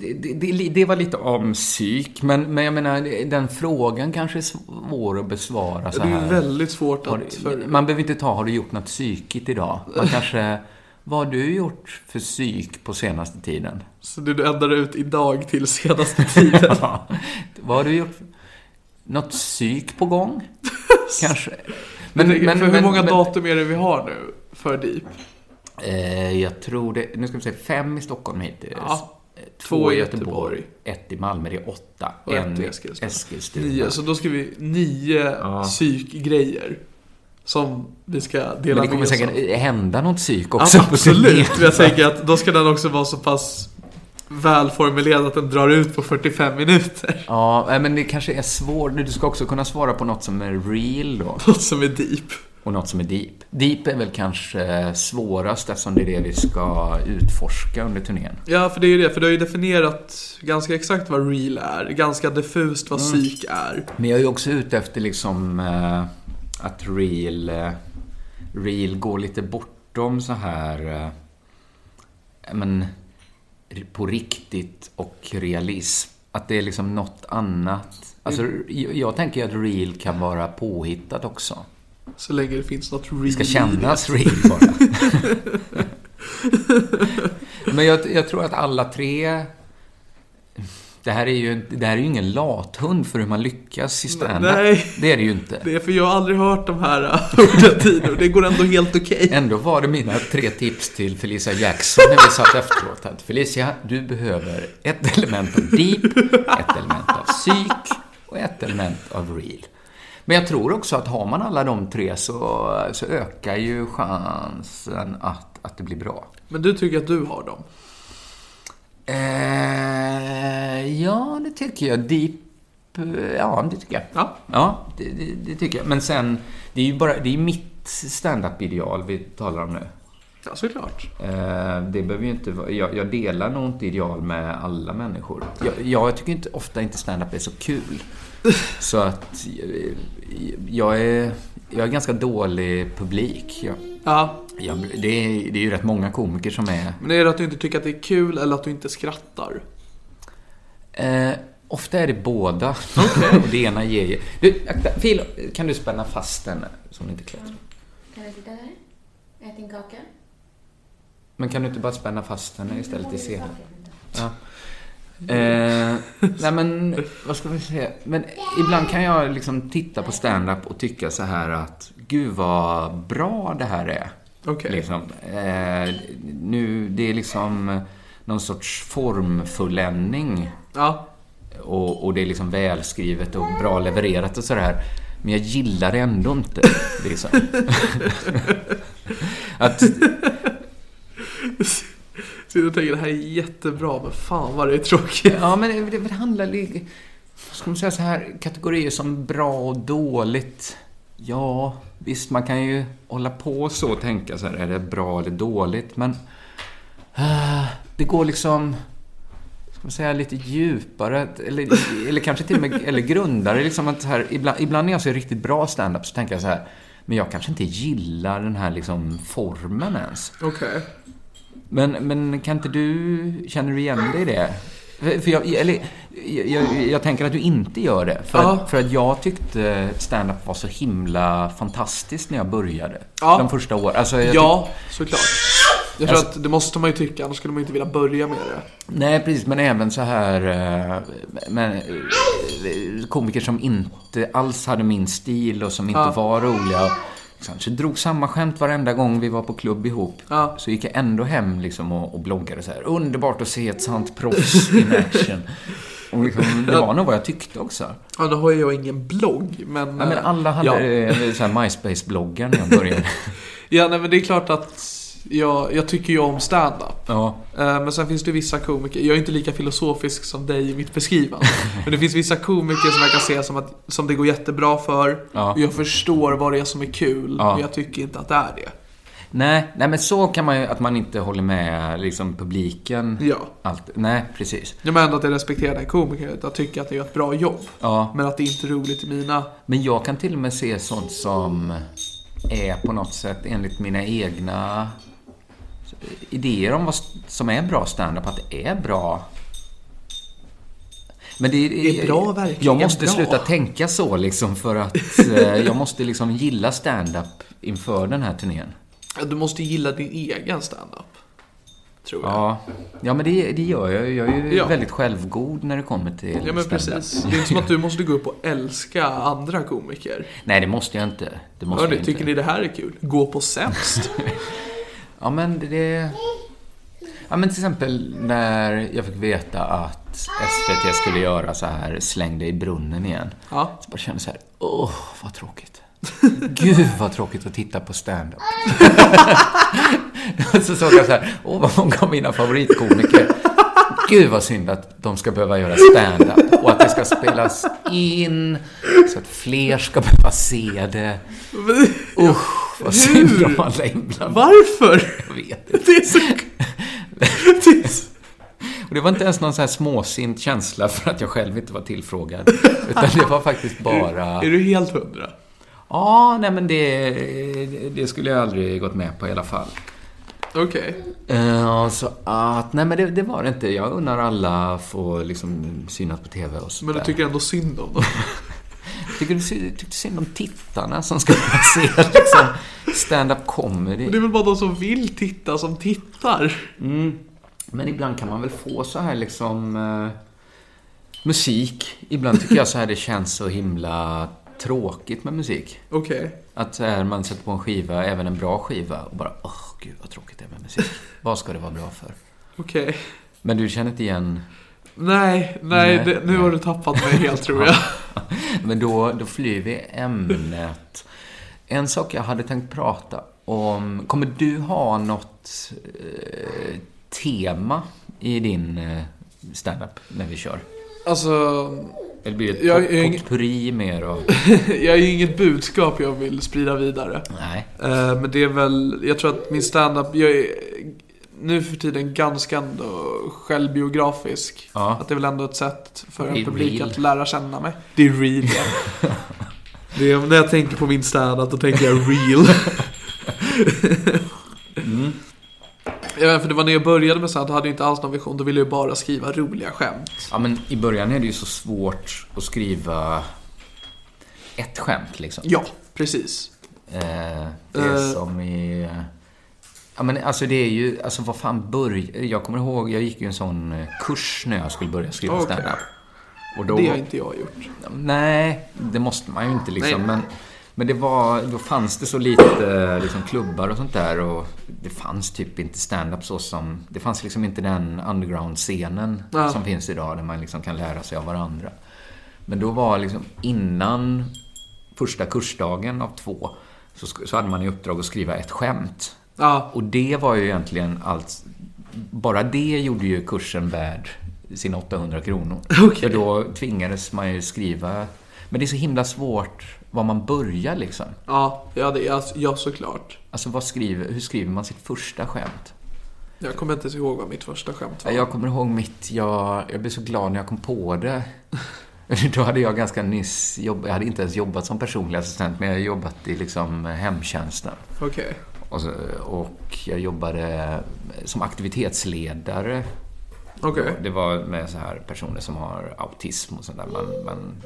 [SPEAKER 4] det, det- det, det var lite om psyk, men, men jag menar, det- den frågan kanske är svår att besvara så
[SPEAKER 3] Det är
[SPEAKER 4] här.
[SPEAKER 3] ju väldigt svårt
[SPEAKER 4] Har
[SPEAKER 3] att...
[SPEAKER 4] du-
[SPEAKER 3] För...
[SPEAKER 4] Man behöver inte ta, har du gjort något psykigt idag? Man kanske, vad har du gjort för psyk på senaste tiden?
[SPEAKER 3] Så det du ändrar ut idag till senaste tiden.
[SPEAKER 4] Ja. vad har du gjort? Något psyk på gång? kanske.
[SPEAKER 3] Men, för hur många datum är det vi har nu för DEEP?
[SPEAKER 4] Eh, jag tror det, nu ska vi se, fem i Stockholm hittills.
[SPEAKER 3] Ja.
[SPEAKER 4] Eh,
[SPEAKER 3] Två i Göteborg.
[SPEAKER 4] ett i Malmö, det är åtta.
[SPEAKER 3] Och
[SPEAKER 4] en
[SPEAKER 3] ett i
[SPEAKER 4] i
[SPEAKER 3] Eskilstuna.
[SPEAKER 4] Eskilstuna.
[SPEAKER 3] Nio, så då ska vi nio psykgrejer. Som vi ska dela
[SPEAKER 4] Men det kommer
[SPEAKER 3] med
[SPEAKER 4] säkert
[SPEAKER 3] oss av.
[SPEAKER 4] hända något psyk också.
[SPEAKER 3] Ja,
[SPEAKER 4] på
[SPEAKER 3] absolut,
[SPEAKER 4] turnén.
[SPEAKER 3] men jag tänker att då ska den också vara så pass välformulerad att den drar ut på 45 minuter.
[SPEAKER 4] Ja, nej, men det kanske är svårt. Du ska också kunna svara på något som är real då.
[SPEAKER 3] Något som är deep.
[SPEAKER 4] Och något som är deep. Deep är väl kanske svårast eftersom det är det vi ska utforska under turnén.
[SPEAKER 3] Ja, för det är ju det, för du har ju definierat ganska exakt vad real är, ganska diffust vad
[SPEAKER 4] Mm.
[SPEAKER 3] psyk är.
[SPEAKER 4] Men jag är ju också ute efter liksom eh, att real, eh, real går lite bortom så här... Eh, ja, men, r- på riktigt och realism. Att det är liksom något annat. Alltså, jag, jag tänker ju att real kan vara påhittat också.
[SPEAKER 3] Så länge det finns något real.
[SPEAKER 4] Det ska kännas real bara. Men jag, jag tror att alla tre... Det här är ju, det här är ju ingen lathund för hur man lyckas i standup.
[SPEAKER 3] Nej.
[SPEAKER 4] Det är det ju inte.
[SPEAKER 3] Det är för jag har aldrig hört de här äh, orden tidigare och det går ändå helt okej.
[SPEAKER 4] Ändå var det mina tre tips till Felicia Jackson när vi satt efteråt. Att Felicia, du behöver ett element av deep, ett element av psyk och ett element av real. Men jag tror också att har man alla de tre så, så ökar ju chansen att, att det blir bra.
[SPEAKER 3] Men du tycker att du har dem?
[SPEAKER 4] Eh, ja, det tycker jag. Deep, eh, ja det tycker jag.
[SPEAKER 3] Ja.
[SPEAKER 4] Ja, det, det, det tycker jag. Men sen, det är ju bara, det är mitt standup-ideal vi talar om nu.
[SPEAKER 3] Ja, såklart.
[SPEAKER 4] Eh, Det behöver ju inte vara, jag, jag delar nog inte ideal med alla människor. Jag, jag tycker inte, ofta inte stand-up är så kul. Så att eh, jag är, jag är ganska dålig publik. Jag,
[SPEAKER 3] Ja.
[SPEAKER 4] jag, det, är, det är ju rätt många komiker som är...
[SPEAKER 3] Men är det att du inte tycker att det är kul eller att du inte skrattar?
[SPEAKER 4] Eh, ofta är det båda. Och det ena ger ju... Du, akta, Fil, kan du spänna fast den som inte klättrar?
[SPEAKER 5] Kan jag sitta där? Ät din kaka?
[SPEAKER 4] Men kan du inte bara spänna fast henne istället i scenen? Ja. Eh, nej men, vad ska vi säga? Men ibland kan jag liksom titta på stand-up och tycka så här att Gud vad bra det här är.
[SPEAKER 3] Okej.
[SPEAKER 4] Liksom. Eh, nu, det är liksom någon sorts formfulländning.
[SPEAKER 3] Ja.
[SPEAKER 4] Och, och det är liksom välskrivet och bra levererat och sådär. Men jag gillar det ändå inte. Liksom. att
[SPEAKER 3] Sitter och tänker det här är jättebra, men fan vad det är tråkigt.
[SPEAKER 4] Ja, men det, det handlar li- Ska man säga så här, kategorier som bra och dåligt. Ja, visst, man kan ju hålla på så och tänka så här, är det bra eller dåligt? Men ah, det går liksom, ska man säga, lite djupare, eller, eller kanske till och med eller grundare. Liksom att så här, ibland, ibland när jag ser riktigt bra stand-up så tänker jag så här, men jag kanske inte gillar den här liksom formen ens.
[SPEAKER 3] Okej.
[SPEAKER 4] Men, men kan inte du, känner du igen dig i det? För- För jag, eller, jag, jag, jag tänker att du inte gör det. För,
[SPEAKER 3] Ja.
[SPEAKER 4] att, för att jag tyckte stand-up var så himla fantastiskt när jag började.
[SPEAKER 3] Ja.
[SPEAKER 4] De första åren. Alltså, jag
[SPEAKER 3] Ja, såklart. Jag tror
[SPEAKER 4] Alltså-
[SPEAKER 3] att det måste man ju tycka, annars skulle man ju inte vilja börja med det.
[SPEAKER 4] tyck- nej, precis. Men även så här... eh, Men, eh, komiker som inte alls hade min stil och som inte
[SPEAKER 3] Ja.
[SPEAKER 4] var roliga. Liksom, Så drog samma skämt varenda gång vi var på klubb ihop.
[SPEAKER 3] Ja.
[SPEAKER 4] Så gick jag ändå hem liksom och, och bloggade så här. Underbart att se ett sant proffs in action. Och liksom, det var nog vad jag tyckte också.
[SPEAKER 3] Ja, nu har ju jag ingen blogg, men... eh,
[SPEAKER 4] Ja, men alla
[SPEAKER 3] Ja.
[SPEAKER 4] hade ja. så här MySpace-bloggar när jag började.
[SPEAKER 3] Ja, nej, men det är klart att jag, jag tycker ju om stand-up.
[SPEAKER 4] ja.
[SPEAKER 3] Eh, Men sen finns det ju vissa komiker, jag är inte lika filosofisk som dig i mitt beskrivande. Men det finns vissa komiker som jag kan se som, att, som det går jättebra för.
[SPEAKER 4] Ja.
[SPEAKER 3] Och jag förstår vad det är som är kul,
[SPEAKER 4] Ja.
[SPEAKER 3] men jag tycker inte att det är det.
[SPEAKER 4] Nej, nej, men så kan man ju, att man inte håller med liksom publiken.
[SPEAKER 3] Ja.
[SPEAKER 4] Allt. Nej, precis.
[SPEAKER 3] Jag menar ändå att jag respekterar den komikern, att jag tycker att det gör ett bra jobb.
[SPEAKER 4] Ja.
[SPEAKER 3] Men att det inte är roligt i mina...
[SPEAKER 4] Men jag kan till och med se sånt som är på något sätt enligt mina egna idéer om vad som är bra standup, att det är bra. Men det
[SPEAKER 3] Är bra verkligen
[SPEAKER 4] Jag måste
[SPEAKER 3] bra?
[SPEAKER 4] sluta tänka så liksom för att eh, jag måste liksom gilla standup inför den här turnén.
[SPEAKER 3] Ja, Du måste gilla din egen stand-up. Tror jag.
[SPEAKER 4] Ja, ja men det, det gör jag ju. Jag är ju
[SPEAKER 3] Ja.
[SPEAKER 4] väldigt självgod när det kommer till
[SPEAKER 3] Ja men
[SPEAKER 4] standup.
[SPEAKER 3] precis. Det är inte som att du måste gå upp och älska andra komiker.
[SPEAKER 4] Nej, det måste jag inte. Det måste
[SPEAKER 3] Hörni,
[SPEAKER 4] jag inte.
[SPEAKER 3] tycker ni det här är kul? Gå på sämst.
[SPEAKER 4] Ja, men det... Ja, men till exempel när jag fick veta att SVT skulle göra så här, släng dig i brunnen igen.
[SPEAKER 3] Ja.
[SPEAKER 4] Så bara kände jag så här, åh, vad tråkigt. Gud, vad tråkigt att titta på stand-up. Och så såg jag så här, åh, vad många av mina favoritkomiker. Gud, vad synd att de ska behöva göra stand-up och att det ska spelas in så att fler ska behöva se det. Usch, vad synd om alla inblandade.
[SPEAKER 3] Varför?
[SPEAKER 4] Jag vet inte.
[SPEAKER 3] Det är så... Det är så...
[SPEAKER 4] Och det var inte ens någon sån här småsint känsla för att jag själv inte var tillfrågad. Utan det var faktiskt bara...
[SPEAKER 3] Är du helt hundra?
[SPEAKER 4] Ja, nej men det, det skulle jag aldrig gått med på i alla fall.
[SPEAKER 3] Okej.
[SPEAKER 4] Eh, så att, nej men det, det var det inte. Jag unnar alla få liksom synas på TV och så
[SPEAKER 3] Men du
[SPEAKER 4] där.
[SPEAKER 3] tycker ändå synd om dem?
[SPEAKER 4] tycker du sy- tyckte synd om tittarna som skulle se liksom, stand-up comedy.
[SPEAKER 3] Det är väl bara de som vill titta som tittar.
[SPEAKER 4] Mm. Men ibland kan man väl få så här liksom eh, musik. Ibland tycker jag så här det känns så himla tråkigt med musik.
[SPEAKER 3] Okej.
[SPEAKER 4] Att så här, man sätter på en skiva, även en bra skiva, och bara åh gud vad tråkigt det är med musik. Vad ska det vara bra för?
[SPEAKER 3] Okej.
[SPEAKER 4] Men du känner inte igen...
[SPEAKER 3] Nej, nej,
[SPEAKER 4] Nej,
[SPEAKER 3] det, nu har du tappat mig helt tror jag.
[SPEAKER 4] Men då, då flyr vi ämnet. En sak jag hade tänkt prata om. Kommer du ha något eh, tema i din eh, standup när vi kör?
[SPEAKER 3] Alltså,
[SPEAKER 4] Eller blir det ett
[SPEAKER 3] Jag-
[SPEAKER 4] pot-
[SPEAKER 3] jag-
[SPEAKER 4] potpurri mer och...
[SPEAKER 3] jag är ju inget budskap jag vill sprida vidare.
[SPEAKER 4] Nej.
[SPEAKER 3] Eh, Men det är väl, jag tror att min standup, jag är nu för tiden ganska ändå självbiografisk.
[SPEAKER 4] Ja.
[SPEAKER 3] Att det är väl ändå ett sätt för
[SPEAKER 4] Det är
[SPEAKER 3] en publik
[SPEAKER 4] real.
[SPEAKER 3] att lära känna mig. Det är real ja. det är, När jag tänker på min standup då tänker jag real.
[SPEAKER 4] Mm.
[SPEAKER 3] Jag vet, för det var när jag började med sånt, då hade jag inte alls någon vision. Då ville jag bara skriva roliga skämt.
[SPEAKER 4] Ja, men i början är det ju så svårt att skriva ett skämt liksom.
[SPEAKER 3] Ja, precis.
[SPEAKER 4] Eh, det är
[SPEAKER 3] Eh.
[SPEAKER 4] som i... eh, Ja, men alltså det är ju... Alltså vad fan börj... Jag kommer ihåg, jag gick ju en sån eh, kurs när jag skulle börja skriva
[SPEAKER 3] Okej.
[SPEAKER 4] standup. Och då...
[SPEAKER 3] Det har inte jag gjort.
[SPEAKER 4] Nej, det måste man ju inte liksom.
[SPEAKER 3] Nej.
[SPEAKER 4] Men, men det var, då fanns det så lite liksom, klubbar och sånt där och det fanns typ inte stand-up så som... Det fanns liksom inte den underground-scenen
[SPEAKER 3] Ja.
[SPEAKER 4] som finns idag där man liksom kan lära sig av varandra. Men då var liksom innan första kursdagen av två så, sk- så hade man i uppdrag att skriva ett skämt.
[SPEAKER 3] Ja,
[SPEAKER 4] Och det var ju egentligen allt... Bara det gjorde ju kursen värd sina 800 kronor.
[SPEAKER 3] Okej.
[SPEAKER 4] För då tvingades man ju skriva... Men det är så himla svårt var man börjar liksom.
[SPEAKER 3] ja, ja, det, ja, ja såklart.
[SPEAKER 4] Alltså vad skriver, hur skriver man sitt första skämt?
[SPEAKER 3] Jag kommer inte ens ihåg vad mitt första skämt var.
[SPEAKER 4] Jag kommer ihåg mitt, jag, jag blev så glad när jag kom på det. Då hade jag ganska nyss jobbat, jag hade inte ens jobbat som personlig assistent, men jag hade jobbat i liksom hemtjänsten.
[SPEAKER 3] Okej.
[SPEAKER 4] Och, så, och jag jobbade som aktivitetsledare
[SPEAKER 3] Okej.
[SPEAKER 4] Det var med så här personer som har autism och sånt där. Man, man,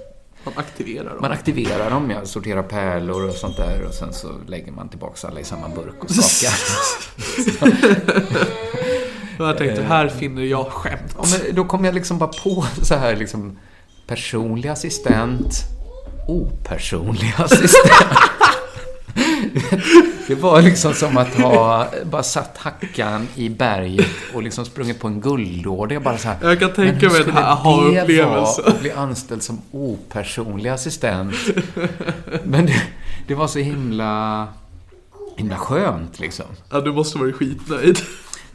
[SPEAKER 3] Man aktiverar dem.
[SPEAKER 4] man aktiverar dem, ja, sorterar pärlor och sånt där och sen så lägger man tillbaks alla i samma burk och skakar.
[SPEAKER 3] Och jag tänkte, här finner jag skämt.
[SPEAKER 4] ja, men då kom jag liksom bara på så här liksom personlig assistent, opersonlig assistent. Det var liksom som att ha bara satt hackan i berget och liksom sprungit på en guldlåda. Jag bara så här,
[SPEAKER 3] Jag kan tänka
[SPEAKER 4] men hur
[SPEAKER 3] mig den
[SPEAKER 4] skulle
[SPEAKER 3] här aha-upplevelsen.
[SPEAKER 4] det vara att bli anställd som opersonlig assistent. Men det, det var så himla, himla skönt liksom.
[SPEAKER 3] Ja, du måste vara skitnöjd.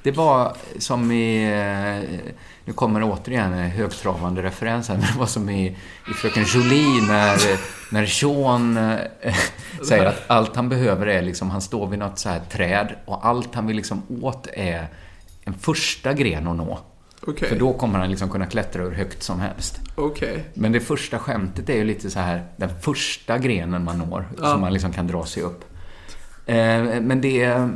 [SPEAKER 4] Det var som i... eh, Nu kommer återigen en högtravande referens här, men det var som i, i Fröken Jolie när, när Sean eh, säger att allt han behöver är liksom, han står vid något så här träd och allt han vill liksom åt är en första gren att nå.
[SPEAKER 3] Okej.
[SPEAKER 4] För då kommer han liksom kunna klättra hur högt som helst.
[SPEAKER 3] Okej.
[SPEAKER 4] Men det första skämtet är ju lite så här den första grenen man når,
[SPEAKER 3] Ja.
[SPEAKER 4] som man liksom kan dra sig upp. Eh, Men det...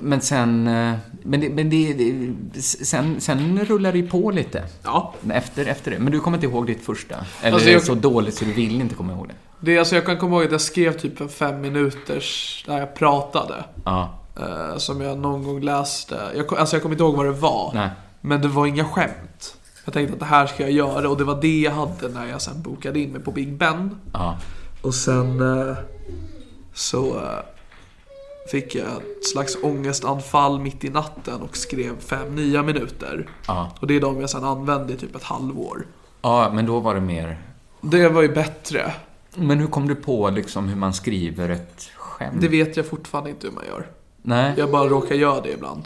[SPEAKER 4] Men sen... eh, Men det... Men det det- sen, sen rullar det ju på lite.
[SPEAKER 3] Ja.
[SPEAKER 4] Efter, efter det. Men du kommer inte ihåg ditt första? Eller
[SPEAKER 3] Alltså,
[SPEAKER 4] är det
[SPEAKER 3] jag-
[SPEAKER 4] så dåligt så du vill inte komma ihåg det?
[SPEAKER 3] Det, är alltså, jag kan komma ihåg att jag skrev typ en fem minuters när jag pratade.
[SPEAKER 4] Ja.
[SPEAKER 3] eh, som jag någon gång läste. Jag, kom- alltså jag kommer inte ihåg vad det var.
[SPEAKER 4] Nej.
[SPEAKER 3] Men det var inga skämt. Jag tänkte att det här ska jag göra och det var det jag hade när jag sen bokade in mig på Big Ben.
[SPEAKER 4] Ja.
[SPEAKER 3] Och sen eh, så eh, fick jag ett slags ångestanfall mitt i natten och skrev fem nya minuter.
[SPEAKER 4] Ja.
[SPEAKER 3] Och det är de jag sen använde i typ ett halvår.
[SPEAKER 4] Ja, men då var det mer...
[SPEAKER 3] Det var ju bättre.
[SPEAKER 4] Men hur kom du på liksom hur man skriver ett skämt?
[SPEAKER 3] Det vet jag fortfarande inte hur man gör.
[SPEAKER 4] Nej.
[SPEAKER 3] Jag bara råkar göra det ibland.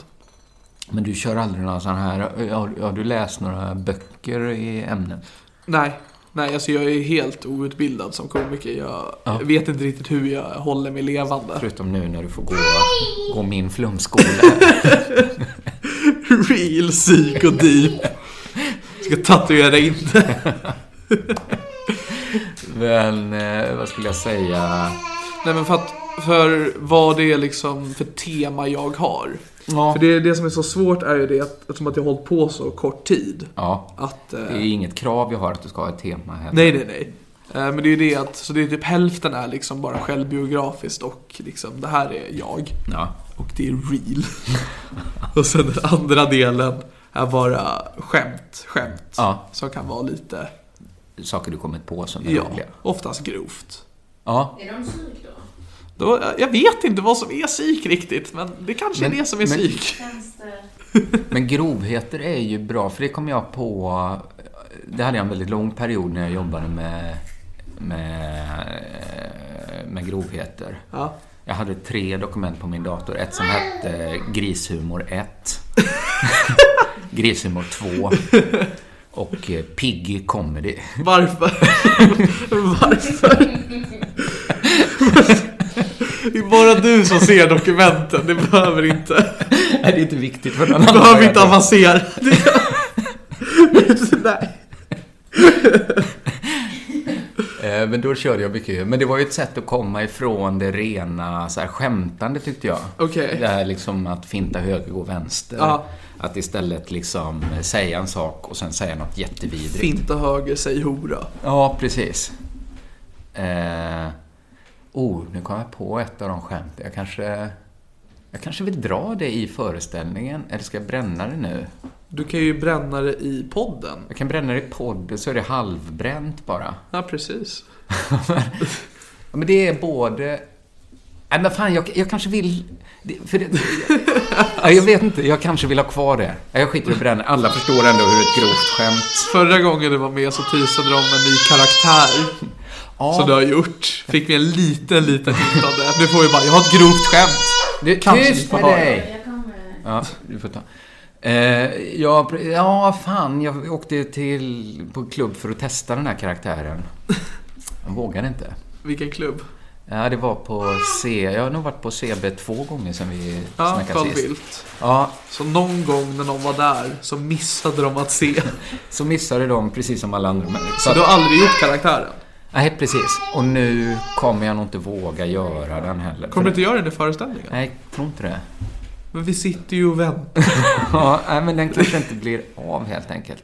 [SPEAKER 4] Men du kör aldrig några sådana här... Har, har du läst några böcker i ämnet?
[SPEAKER 3] Nej, nej alltså jag är helt outbildad som komiker. Jag
[SPEAKER 4] Ja.
[SPEAKER 3] vet inte riktigt hur jag håller mig levande.
[SPEAKER 4] Förutom nu när du får gå, gå min flumskola.
[SPEAKER 3] Real psyk och deep. Ska tatuera in det.
[SPEAKER 4] Men eh, vad skulle jag säga?
[SPEAKER 3] Nej men för att, för vad det är liksom för tema jag har.
[SPEAKER 4] Ja.
[SPEAKER 3] För det, det som är så svårt är ju det att, eftersom att jag har hållit på så kort tid.
[SPEAKER 4] ja.
[SPEAKER 3] Att... Eh,
[SPEAKER 4] Det är inget krav jag har att du ska ha ett tema heller.
[SPEAKER 3] nej, nej, nej. Eh, Men det är ju det att, så det är typ hälften är liksom bara självbiografiskt och liksom det här är jag.
[SPEAKER 4] Ja.
[SPEAKER 3] Och det är real. och sen den andra delen är bara skämt, skämt.
[SPEAKER 4] Ja.
[SPEAKER 3] Som kan vara lite,
[SPEAKER 4] Saker du kommit på som är
[SPEAKER 3] ja,
[SPEAKER 4] roliga.
[SPEAKER 3] oftast grovt.
[SPEAKER 4] Ja.
[SPEAKER 5] Är de psyk då?
[SPEAKER 3] Då, jag vet inte vad som är psyk riktigt, men det kanske
[SPEAKER 4] Men-
[SPEAKER 3] är det som är
[SPEAKER 4] men-
[SPEAKER 3] psyk.
[SPEAKER 5] Känns det...
[SPEAKER 4] Men grovheter är ju bra, för det kom jag på... eh, Det hade jag en väldigt lång period när jag jobbade med, med, eh, med grovheter.
[SPEAKER 3] Ja.
[SPEAKER 4] Jag hade tre dokument på min dator. Ett som hette eh, Grishumor 1. Grishumor 2. Och eh, Piggy Comedy.
[SPEAKER 3] Varför? Varför? Det är bara du som ser dokumenten, det behöver inte.
[SPEAKER 4] Nej, det är inte viktigt för någon
[SPEAKER 3] Du behöver inte
[SPEAKER 4] annan.
[SPEAKER 3] avancera. Nej.
[SPEAKER 4] Eh, Men då körde jag mycket. Men det var ju ett sätt att komma ifrån det rena så här, skämtande tyckte jag.
[SPEAKER 3] Okej.
[SPEAKER 4] Det här liksom att finta höger, gå vänster.
[SPEAKER 3] Ja.
[SPEAKER 4] Att istället liksom säga en sak och sen säga något jättevidrigt.
[SPEAKER 3] Finta höger, säg hora.
[SPEAKER 4] Ja, precis. Eh, oh, nu kom jag på ett av de skämten. Jag kanske, jag kanske vill dra det i föreställningen. Eller ska jag bränna det nu?
[SPEAKER 3] Du kan ju bränna det i podden.
[SPEAKER 4] Jag kan bränna det i podden så är det halvbränt bara.
[SPEAKER 3] Ja, precis.
[SPEAKER 4] Ja, men det är både... Nej, men fan, jag, jag kanske vill... det- För det... ja, jag vet inte, jag kanske vill ha kvar det. Ja, Jag skiter i att bränna. Alla förstår ändå hur ett grovt skämt...
[SPEAKER 3] Förra gången du var med så teasade de om en ny karaktär.
[SPEAKER 4] Ja.
[SPEAKER 3] Som du har gjort. Fick vi en liten, liten hint av det. Nu får vi bara, jag har ett grovt skämt.
[SPEAKER 4] Du,
[SPEAKER 3] Kanske vi
[SPEAKER 4] tyst
[SPEAKER 3] får
[SPEAKER 4] med
[SPEAKER 3] ha det.
[SPEAKER 4] dig!
[SPEAKER 5] Jag kommer...
[SPEAKER 4] Ja, du får ta. Eh, ja, pr- ja, fan, jag åkte till på klubb för att testa den här karaktären. Jag vågade inte.
[SPEAKER 3] Vilken klubb?
[SPEAKER 4] Ja, det var på C... Jag har nog varit på CB två gånger sen vi
[SPEAKER 3] Ja,
[SPEAKER 4] snackade
[SPEAKER 3] Carl
[SPEAKER 4] sist.
[SPEAKER 3] Bildt.
[SPEAKER 4] Ja,
[SPEAKER 3] Så någon gång när någon var där så missade de att se.
[SPEAKER 4] så missade de precis som alla andra. Men, så
[SPEAKER 3] Så
[SPEAKER 4] att-
[SPEAKER 3] du har aldrig gjort karaktären?
[SPEAKER 4] Nej, precis. Och nu kommer jag nog inte våga göra den heller.
[SPEAKER 3] Kommer du
[SPEAKER 4] För-
[SPEAKER 3] inte göra den i föreställningen?
[SPEAKER 4] Nej, jag tror inte det.
[SPEAKER 3] Men vi sitter ju och väntar.
[SPEAKER 4] Ja, nej, men den kanske inte blir av helt enkelt.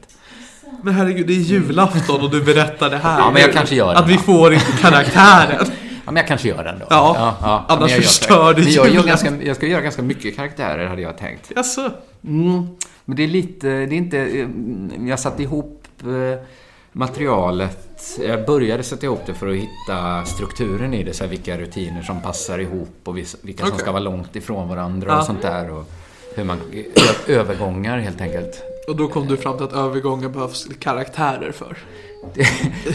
[SPEAKER 3] Men herregud, det är julafton och du berättar det här.
[SPEAKER 4] Ja, men jag kanske gör det.
[SPEAKER 3] Att vi får inte karaktären.
[SPEAKER 4] Ja, men jag kanske gör den då.
[SPEAKER 3] Ja,
[SPEAKER 4] men
[SPEAKER 3] annars
[SPEAKER 4] jag gör-
[SPEAKER 3] förstör du
[SPEAKER 4] Men jag, gör
[SPEAKER 3] julen.
[SPEAKER 4] ganska, jag ska göra ganska mycket karaktärer, hade jag tänkt.
[SPEAKER 3] Jaså?
[SPEAKER 4] Mm, men det är lite... Det är inte... eh, Jag satte ihop eh, materialet. Jag började sätta ihop det för att hitta strukturen i det. Så här, vilka rutiner som passar ihop och vis- vilka som
[SPEAKER 3] Okej.
[SPEAKER 4] ska vara långt ifrån varandra
[SPEAKER 3] Ja.
[SPEAKER 4] och sånt där. Och hur man... Övergångar, helt enkelt.
[SPEAKER 3] Och då kom du fram till att övergången behövs karaktärer för.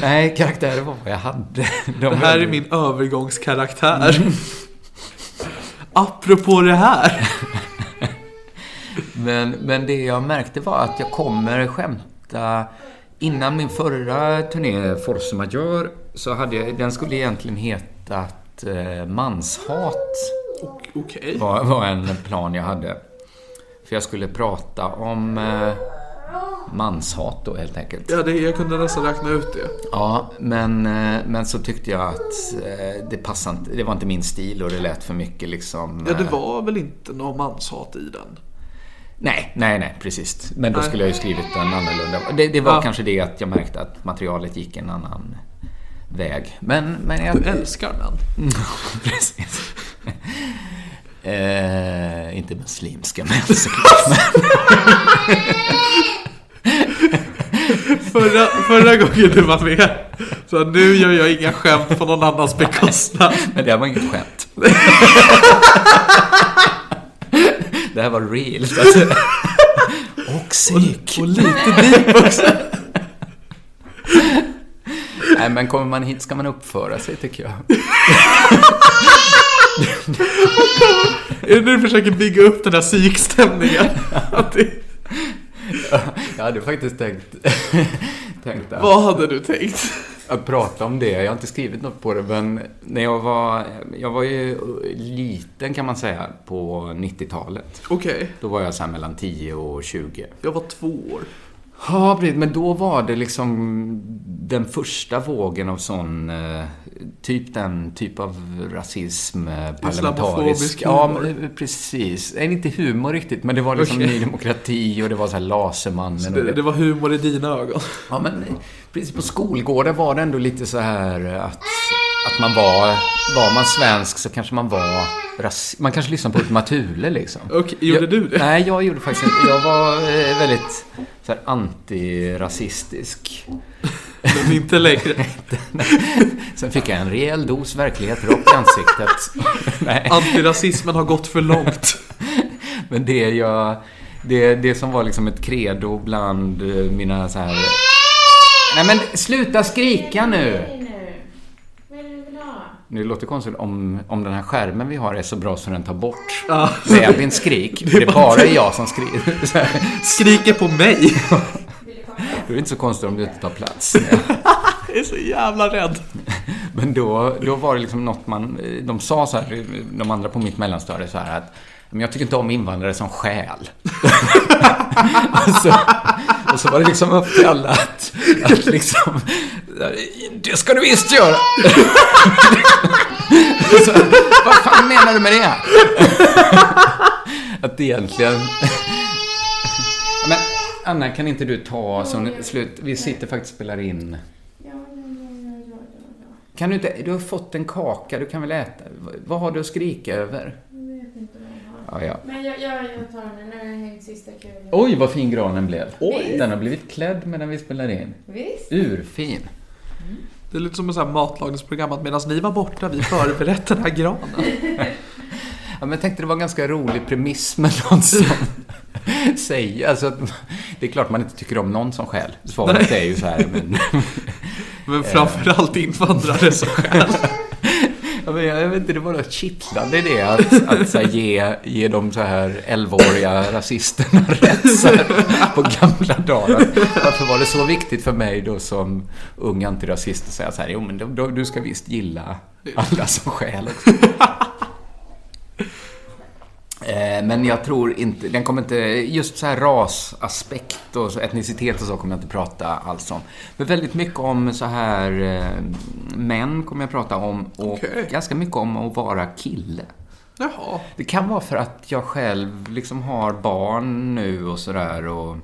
[SPEAKER 4] Nej, karaktärer var vad jag hade. De
[SPEAKER 3] Det här är min övergångskaraktär. Apropå det här.
[SPEAKER 4] men, men det jag märkte var att jag kommer skämta... Innan min förra turné, Force Majeure, så hade jag... Den skulle egentligen hetat eh, Manshat,
[SPEAKER 3] Okej.
[SPEAKER 4] var, var en plan jag hade. För jag skulle prata om eh, manshat då, helt enkelt.
[SPEAKER 3] Ja, det, jag kunde nästan räkna ut det.
[SPEAKER 4] Ja, men, eh, men så tyckte jag att eh, det passade inte. Det var inte min stil och det lät för mycket liksom...
[SPEAKER 3] Ja, det
[SPEAKER 4] eh,
[SPEAKER 3] var väl inte någon manshat i den?
[SPEAKER 4] Nej, nej, nej, precis. Men då
[SPEAKER 3] Nej.
[SPEAKER 4] skulle jag ju skrivit den annorlunda. Det, det var
[SPEAKER 3] Ja.
[SPEAKER 4] kanske det att jag märkte att materialet gick en annan väg. Men, men jag... Mm,
[SPEAKER 3] Du älskar den.
[SPEAKER 4] precis. eh, inte muslimska män
[SPEAKER 3] Förra, förra gången du var med så nu gör jag inga skämt på någon annans bekostnad.
[SPEAKER 4] Men det här var inget skämt. det här var real. så att säga. Och psyk.
[SPEAKER 3] Och lite deep också.
[SPEAKER 4] Nej, men kommer man hit ska man uppföra sig tycker jag.
[SPEAKER 3] Är det nu du försöker bygga upp den här psykstämningen? Att det-
[SPEAKER 4] Jag hade faktiskt tänkt... tänkt att...
[SPEAKER 3] Vad hade du tänkt?
[SPEAKER 4] att prata om det. Jag har inte skrivit något på det, men när jag var... Jag var ju liten kan man säga på 90-talet.
[SPEAKER 3] Okej,
[SPEAKER 4] Då var jag så här mellan 10 och 20.
[SPEAKER 3] jag var två år.
[SPEAKER 4] Ja, precis. Men då var det liksom den första vågen av sån, eh, typ den typ av rasism, eh, parlamentarisk.
[SPEAKER 3] Islamofobisk
[SPEAKER 4] Ja,
[SPEAKER 3] humor.
[SPEAKER 4] men, eh, precis. Nej, inte humor riktigt, men det var liksom
[SPEAKER 3] Okej.
[SPEAKER 4] Ny Demokrati och det var så här Lasermannen.
[SPEAKER 3] Så
[SPEAKER 4] och
[SPEAKER 3] det, det var humor i dina ögon.
[SPEAKER 4] Ja, men precis på skolgården var det ändå lite så här att, att man var, var man svensk så kanske man var rasist. Man kanske lyssnade på Ultima Thule liksom.
[SPEAKER 3] Okej, gjorde
[SPEAKER 4] jag,
[SPEAKER 3] du det?
[SPEAKER 4] Nej, jag gjorde faktiskt inte. Jag var eh, väldigt så här, antirasistisk.
[SPEAKER 3] Men inte längre.
[SPEAKER 4] Sen fick jag en rejäl dos verklighet rakt i ansiktet. nej,
[SPEAKER 3] Antirasismen har gått för långt.
[SPEAKER 4] men det jag... Det, det som var liksom ett credo bland eh, mina så här... Nej men sluta skrika nu!
[SPEAKER 5] Nej, nu. Vad är det du vill ha?
[SPEAKER 4] Nu låter det konstigt om, om den här skärmen vi har är så bra så den tar bort
[SPEAKER 3] Ja.
[SPEAKER 4] babyn skrik. Det är bara jag som skriker. Så här.
[SPEAKER 3] Skriker på mig.
[SPEAKER 5] Vill du kaka?
[SPEAKER 4] Då är det inte så konstigt om du inte tar plats.
[SPEAKER 3] Jag är så jävla rädd.
[SPEAKER 4] Men då, då var det liksom något man... De sa så här, de andra på mitt mellanstadie så här att men jag tycker inte om invandrare som stjäl. och, så, och så var det liksom upp till alla att, att liksom... Det ska du visst göra! så, vad fan menar du med det? att egentligen... Ja, men Anna, kan inte du ta som slut... Vi sitter faktiskt och spelar in.
[SPEAKER 5] Ja, ja, ja, ja, ja, ja.
[SPEAKER 4] Kan du inte, du har fått en kaka, du kan väl äta? V- Vad har du att skrika över?
[SPEAKER 5] Jag vet inte vad jag har.
[SPEAKER 4] Ja, ja.
[SPEAKER 5] Men jag, jag, jag tar den. Nu har jag hängt sista kulan.
[SPEAKER 3] Oh.
[SPEAKER 4] Oj, vad fin granen blev.
[SPEAKER 5] Oj.
[SPEAKER 4] Den har blivit klädd medan vi spelar in.
[SPEAKER 5] Visst?
[SPEAKER 4] Urfin.
[SPEAKER 3] Det är lite som ett så här matlagningsprogram att medan ni var borta, vi förberett den här granen.
[SPEAKER 4] Ja, men jag tänkte det var en ganska rolig premiss med någon som säger, alltså att, det är klart man inte tycker om någon som skäl. Svaret är ju så här, men,
[SPEAKER 3] Men framförallt invandrare som stjäl.
[SPEAKER 4] ja, men jag vet inte, det var något kittlande i det att, att så här, ge, ge de så här 11-åriga rasisterna rätt så här, på gamla dagar. Varför var det så viktigt för mig då som ung antirasist att säga så här, jo men då, då, du ska visst gilla alla som stjäl också." Eh, Men jag tror inte, den kommer inte, just så här rasaspekt och så- etnicitet och så kommer jag inte prata alls om. Men väldigt mycket om så här eh, män kommer jag prata om och
[SPEAKER 3] Okej.
[SPEAKER 4] ganska mycket om att vara kille.
[SPEAKER 3] Jaha.
[SPEAKER 4] Det kan vara för att jag själv liksom har barn nu och sådär och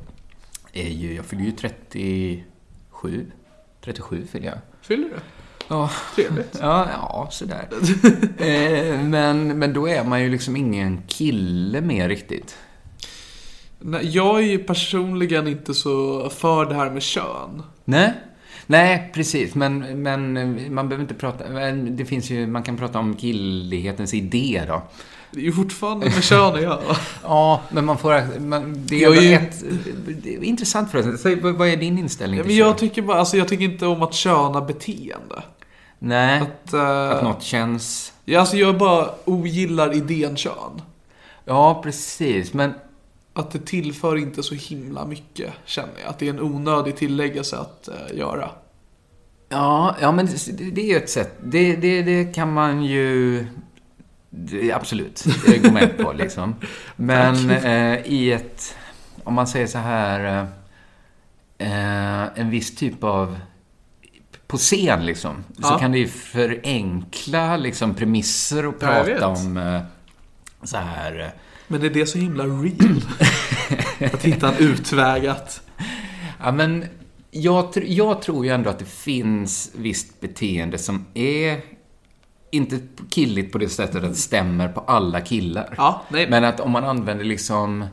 [SPEAKER 4] är ju, jag fyller ju 37. 37 fyller jag.
[SPEAKER 3] Fyller du?
[SPEAKER 4] Ja,
[SPEAKER 3] Trevligt.
[SPEAKER 4] Ja, ja sådär. eh, men, men då är man ju liksom ingen kille mer riktigt.
[SPEAKER 3] Nej, jag är ju personligen inte så för det här med kön.
[SPEAKER 4] Nej, Nej precis. Men, men man behöver inte prata... men Det finns ju, man kan prata om killighetens idé då.
[SPEAKER 3] Det är ju fortfarande med kön att göra.
[SPEAKER 4] Ja, men man får... Man, det är
[SPEAKER 3] Jag är
[SPEAKER 4] ju...
[SPEAKER 3] ju-
[SPEAKER 4] ett, det är intressant förresten. Säg, vad vad är din inställning
[SPEAKER 3] Ja,
[SPEAKER 4] till
[SPEAKER 3] Men jag
[SPEAKER 4] kön?
[SPEAKER 3] tycker bara, alltså jag tycker inte om att köna beteende.
[SPEAKER 4] Nej,
[SPEAKER 3] Att, eh,
[SPEAKER 4] att något känns...
[SPEAKER 3] ja, alltså jag bara ogillar idén kön.
[SPEAKER 4] Ja, precis. Men
[SPEAKER 3] Att det tillför inte så himla mycket, känner jag. Att det är en onödig tilläggelse att eh, göra.
[SPEAKER 4] Ja, ja men det, det är ju ett sätt. Det, det, det kan man ju det, absolut eh, gå med på. Liksom. Men eh, i ett, om man säger så här, eh, eh, en viss typ av på scen liksom, så
[SPEAKER 3] Ja.
[SPEAKER 4] kan det ju förenkla liksom, premisser och
[SPEAKER 3] Ja, jag vet.
[SPEAKER 4] prata om eh, så här eh,
[SPEAKER 3] Men är det så himla real? att hitta en utväg att...
[SPEAKER 4] Ja, men jag, tr- jag tror ju ändå att det finns visst beteende som är inte killigt på det sättet att det stämmer på alla killar.
[SPEAKER 3] Ja, nej.
[SPEAKER 4] Men att om man använder liksom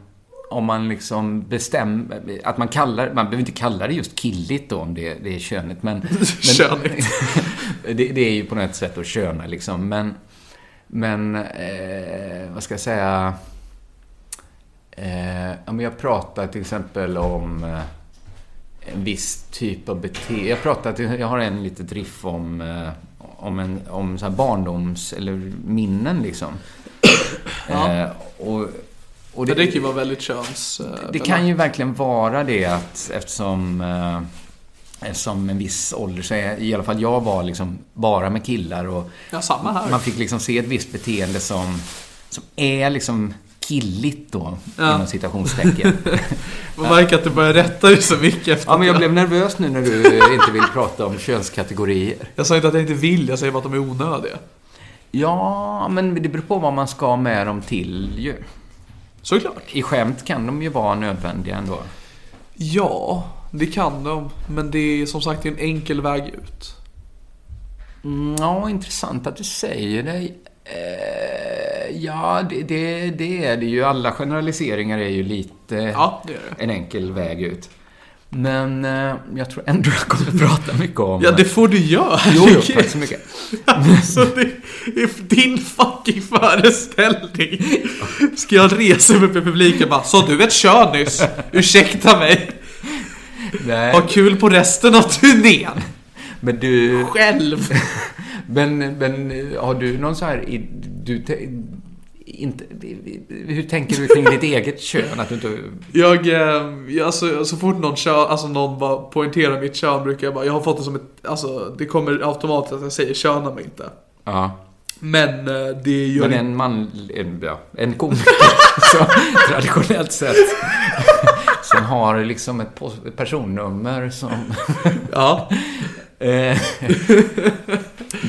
[SPEAKER 4] om man liksom bestämmer, att man kallar, man behöver inte kalla det just killigt då om det, det är könet, men... men
[SPEAKER 3] Königt.
[SPEAKER 4] det, det är ju på något sätt att köna liksom, men... Men, eh, vad ska jag säga? Eh, ja, men jag pratar till exempel om eh, en viss typ av beteende. Jag, pratar till, jag har en litet riff om, eh, om, en, om så här barndoms eller minnen liksom.
[SPEAKER 3] Ja.
[SPEAKER 4] Eh, och, och
[SPEAKER 3] Det, det kan ju vara väldigt köns... eh,
[SPEAKER 4] det kan ju verkligen vara det att eftersom, eh, eftersom en viss ålder så är, i alla fall jag var liksom bara med killar och
[SPEAKER 3] Ja, samma här.
[SPEAKER 4] man fick liksom se ett visst beteende som, som är liksom
[SPEAKER 6] killigt då,
[SPEAKER 3] Ja.
[SPEAKER 6] inom citationstecken.
[SPEAKER 3] Man märker att du börjar rätta dig så mycket efter
[SPEAKER 4] Ja, men jag
[SPEAKER 3] det.
[SPEAKER 4] blev nervös nu när du eh, inte vill prata om könskategorier.
[SPEAKER 3] Jag sa inte att jag inte vill, jag säger bara att de är onödiga.
[SPEAKER 6] ja, men det beror på vad man ska med dem till ju.
[SPEAKER 3] Såklart.
[SPEAKER 4] I skämt kan de ju vara nödvändiga ändå.
[SPEAKER 3] Ja, det kan de. Men det är som sagt det är en enkel väg ut.
[SPEAKER 4] Mm, Ja, intressant att du säger det. Eh, ja, det, det, det är det ju. Alla generaliseringar är ju lite
[SPEAKER 3] Ja, det är det.
[SPEAKER 4] en enkel väg ut. Men eh, jag tror ändå jag kommer prata mycket om
[SPEAKER 3] Ja, det får du göra.
[SPEAKER 4] Jo, jo, tack så mycket.
[SPEAKER 3] Alltså, det är din fucking föreställning. Ska jag resa mig med publiken och bara Så du ett kön nyss? Ursäkta mig.
[SPEAKER 4] Nej,
[SPEAKER 3] Ha kul på resten av turnén.
[SPEAKER 4] men du...
[SPEAKER 3] Själv.
[SPEAKER 4] Men, men eh, har du någon så här... i- Du, te- inte, hur tänker du kring ditt eget kön? Att du inte...
[SPEAKER 3] Jag, eh, jag alltså, så fort någon, kör, alltså, någon bara poängterar mitt kön brukar jag bara, jag har fått det som ett, alltså det kommer automatiskt att jag säger köna mig inte.
[SPEAKER 4] Ja.
[SPEAKER 3] Men eh, det gör
[SPEAKER 4] Men
[SPEAKER 3] inte
[SPEAKER 4] en man... En, ja, en komiker, så, traditionellt sett, som har liksom ett pos- ett personnummer som...
[SPEAKER 3] Ja,
[SPEAKER 4] Eh,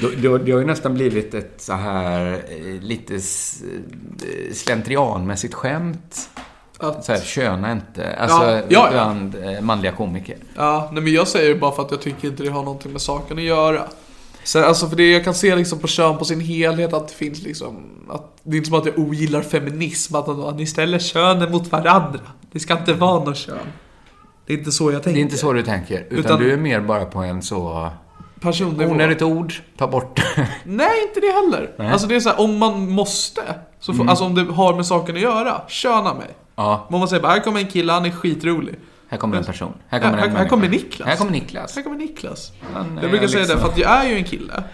[SPEAKER 4] då, då, det har ju nästan blivit ett så här eh, lite s- eh, slentrianmässigt skämt.
[SPEAKER 3] Att-
[SPEAKER 4] Så här, köna inte. Alltså,
[SPEAKER 3] Ja, ja, ja.
[SPEAKER 4] bland eh, manliga komiker.
[SPEAKER 3] ja nej, men jag säger det bara för att jag tycker inte det har någonting med saken att göra. Sen, alltså för det jag kan se liksom på kön på sin helhet att det finns liksom att det är inte som att jag ogillar feminism att, att ni ställer könen mot varandra. Det ska inte vara något kön. Det är inte så jag tänker.
[SPEAKER 4] Det är inte så du tänker. Utan,
[SPEAKER 3] Utan-
[SPEAKER 4] du är mer bara på en så...
[SPEAKER 3] Personnivå.
[SPEAKER 4] Onödigt ord, ta bort det.
[SPEAKER 3] Nej, inte det heller. Alltså det är så här, om man måste, så
[SPEAKER 4] Mm.
[SPEAKER 3] får, alltså om det har med saken att göra, köna mig.
[SPEAKER 4] Ja,
[SPEAKER 3] Men om man säger bara, här kommer en kille, han är skitrolig.
[SPEAKER 4] här kommer en person. Här
[SPEAKER 3] Här,
[SPEAKER 4] kommer,
[SPEAKER 3] här,
[SPEAKER 4] en
[SPEAKER 3] här
[SPEAKER 4] människa.
[SPEAKER 3] kommer Niklas.
[SPEAKER 4] Här kommer Niklas.
[SPEAKER 3] Här kommer Niklas.
[SPEAKER 4] Han är
[SPEAKER 3] Jag brukar säga
[SPEAKER 4] liksom-
[SPEAKER 3] det, för att jag är ju en kille.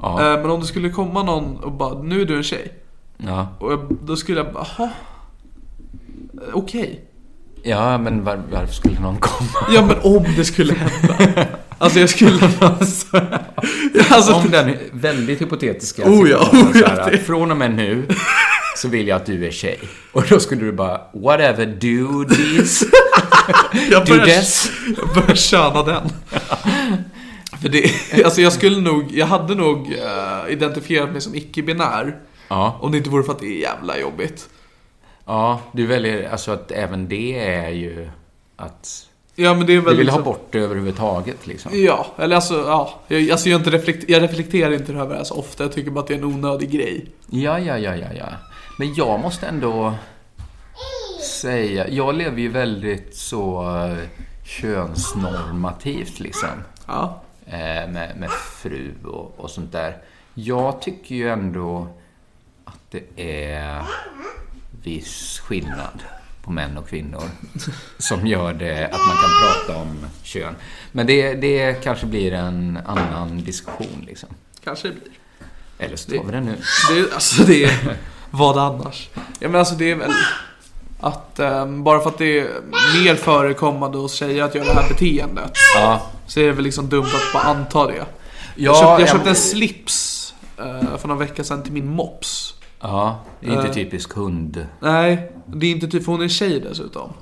[SPEAKER 4] Ja.
[SPEAKER 3] Eh, Men om det skulle komma någon och bara, nu är du en tjej.
[SPEAKER 4] Ja,
[SPEAKER 3] Och jag, då skulle jag bara, jaha. Eh, Okej.
[SPEAKER 4] ja men var, varför skulle någon komma?
[SPEAKER 3] Ja men om det skulle hända. Alltså jag skulle... Alltså,
[SPEAKER 4] Om den väldigt hypotetiska
[SPEAKER 3] Oh ja,
[SPEAKER 4] situationen
[SPEAKER 3] oh ja,
[SPEAKER 4] så här,
[SPEAKER 3] det-
[SPEAKER 4] att Från och med nu så vill jag att du är tjej. Och då skulle du bara, whatever do this,
[SPEAKER 3] jag
[SPEAKER 4] do
[SPEAKER 3] börjar
[SPEAKER 4] this.
[SPEAKER 3] Jag börjar köna den. För det, alltså jag skulle nog, jag hade nog eh, identifierat mig som icke-binär.
[SPEAKER 4] Ja,
[SPEAKER 3] Om det inte vore för att det är jävla jobbigt.
[SPEAKER 4] ja, du väljer, alltså att även det är ju att
[SPEAKER 3] Ja men det är väl...
[SPEAKER 4] du vill ha
[SPEAKER 3] liksom-
[SPEAKER 4] bort det överhuvudtaget liksom.
[SPEAKER 3] Ja, eller alltså ja. Jag, alltså jag, är inte reflekt, jag reflekterar inte över det här så ofta. Jag tycker bara att det är en onödig grej.
[SPEAKER 4] Ja, ja, ja, ja, ja. Men jag måste ändå säga, jag lever ju väldigt så eh, könsnormativt liksom.
[SPEAKER 3] Ja.
[SPEAKER 4] eh, med, med fru och, och sånt där. Jag tycker ju ändå att det är viss skillnad på män och kvinnor som gör det att man kan prata om kön. Men det, det kanske blir en annan diskussion liksom.
[SPEAKER 3] Kanske det blir.
[SPEAKER 4] Eller så tar vi den nu.
[SPEAKER 3] Det, är- alltså det är... Vad annars? Ja men alltså det är väl... Att ehm, bara för att det är mer förekommande hos tjejer att göra det här beteendet.
[SPEAKER 4] Ja,
[SPEAKER 3] Så är det väl liksom dumt att bara anta det. jag
[SPEAKER 4] Ja,
[SPEAKER 3] köpte, jag
[SPEAKER 4] ja,
[SPEAKER 3] köpte
[SPEAKER 4] men-
[SPEAKER 3] en slips eh, för någon vecka sedan till min mops.
[SPEAKER 4] ja det är
[SPEAKER 3] Eh.
[SPEAKER 4] inte typisk hund.
[SPEAKER 3] Nej, det är inte typ, för hon är tjej dessutom.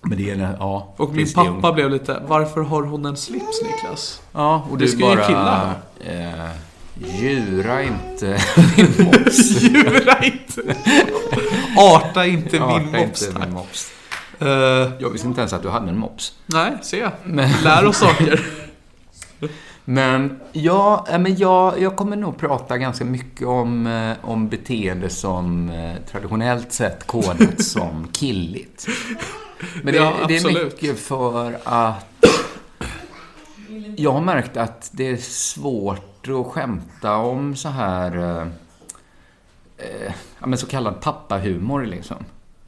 [SPEAKER 4] Men det är ja.
[SPEAKER 3] Och min
[SPEAKER 4] visst, det är
[SPEAKER 3] pappa
[SPEAKER 4] hon.
[SPEAKER 3] blev lite, varför har hon en slips Niklas?
[SPEAKER 4] Ja, och
[SPEAKER 3] det
[SPEAKER 4] du
[SPEAKER 3] ska ju
[SPEAKER 4] bara...
[SPEAKER 3] killar.
[SPEAKER 4] Eh, djura inte min mops.
[SPEAKER 3] Djura inte! Arta inte min
[SPEAKER 4] Arta
[SPEAKER 3] mops.
[SPEAKER 4] inte
[SPEAKER 3] tack.
[SPEAKER 4] min mops.
[SPEAKER 3] Eh,
[SPEAKER 4] Jag visste inte ens att du hade en mops.
[SPEAKER 3] nej, se. Lär oss saker.
[SPEAKER 4] Men, ja, eh, men jag, jag kommer nog prata ganska mycket om, eh, om beteende som eh, traditionellt sett kodats som killigt. Men det,
[SPEAKER 3] Ja,
[SPEAKER 4] det är
[SPEAKER 3] absolut.
[SPEAKER 4] mycket för att jag har märkt att det är svårt att skämta om så här eh, eh, ja, men så kallad pappahumor liksom.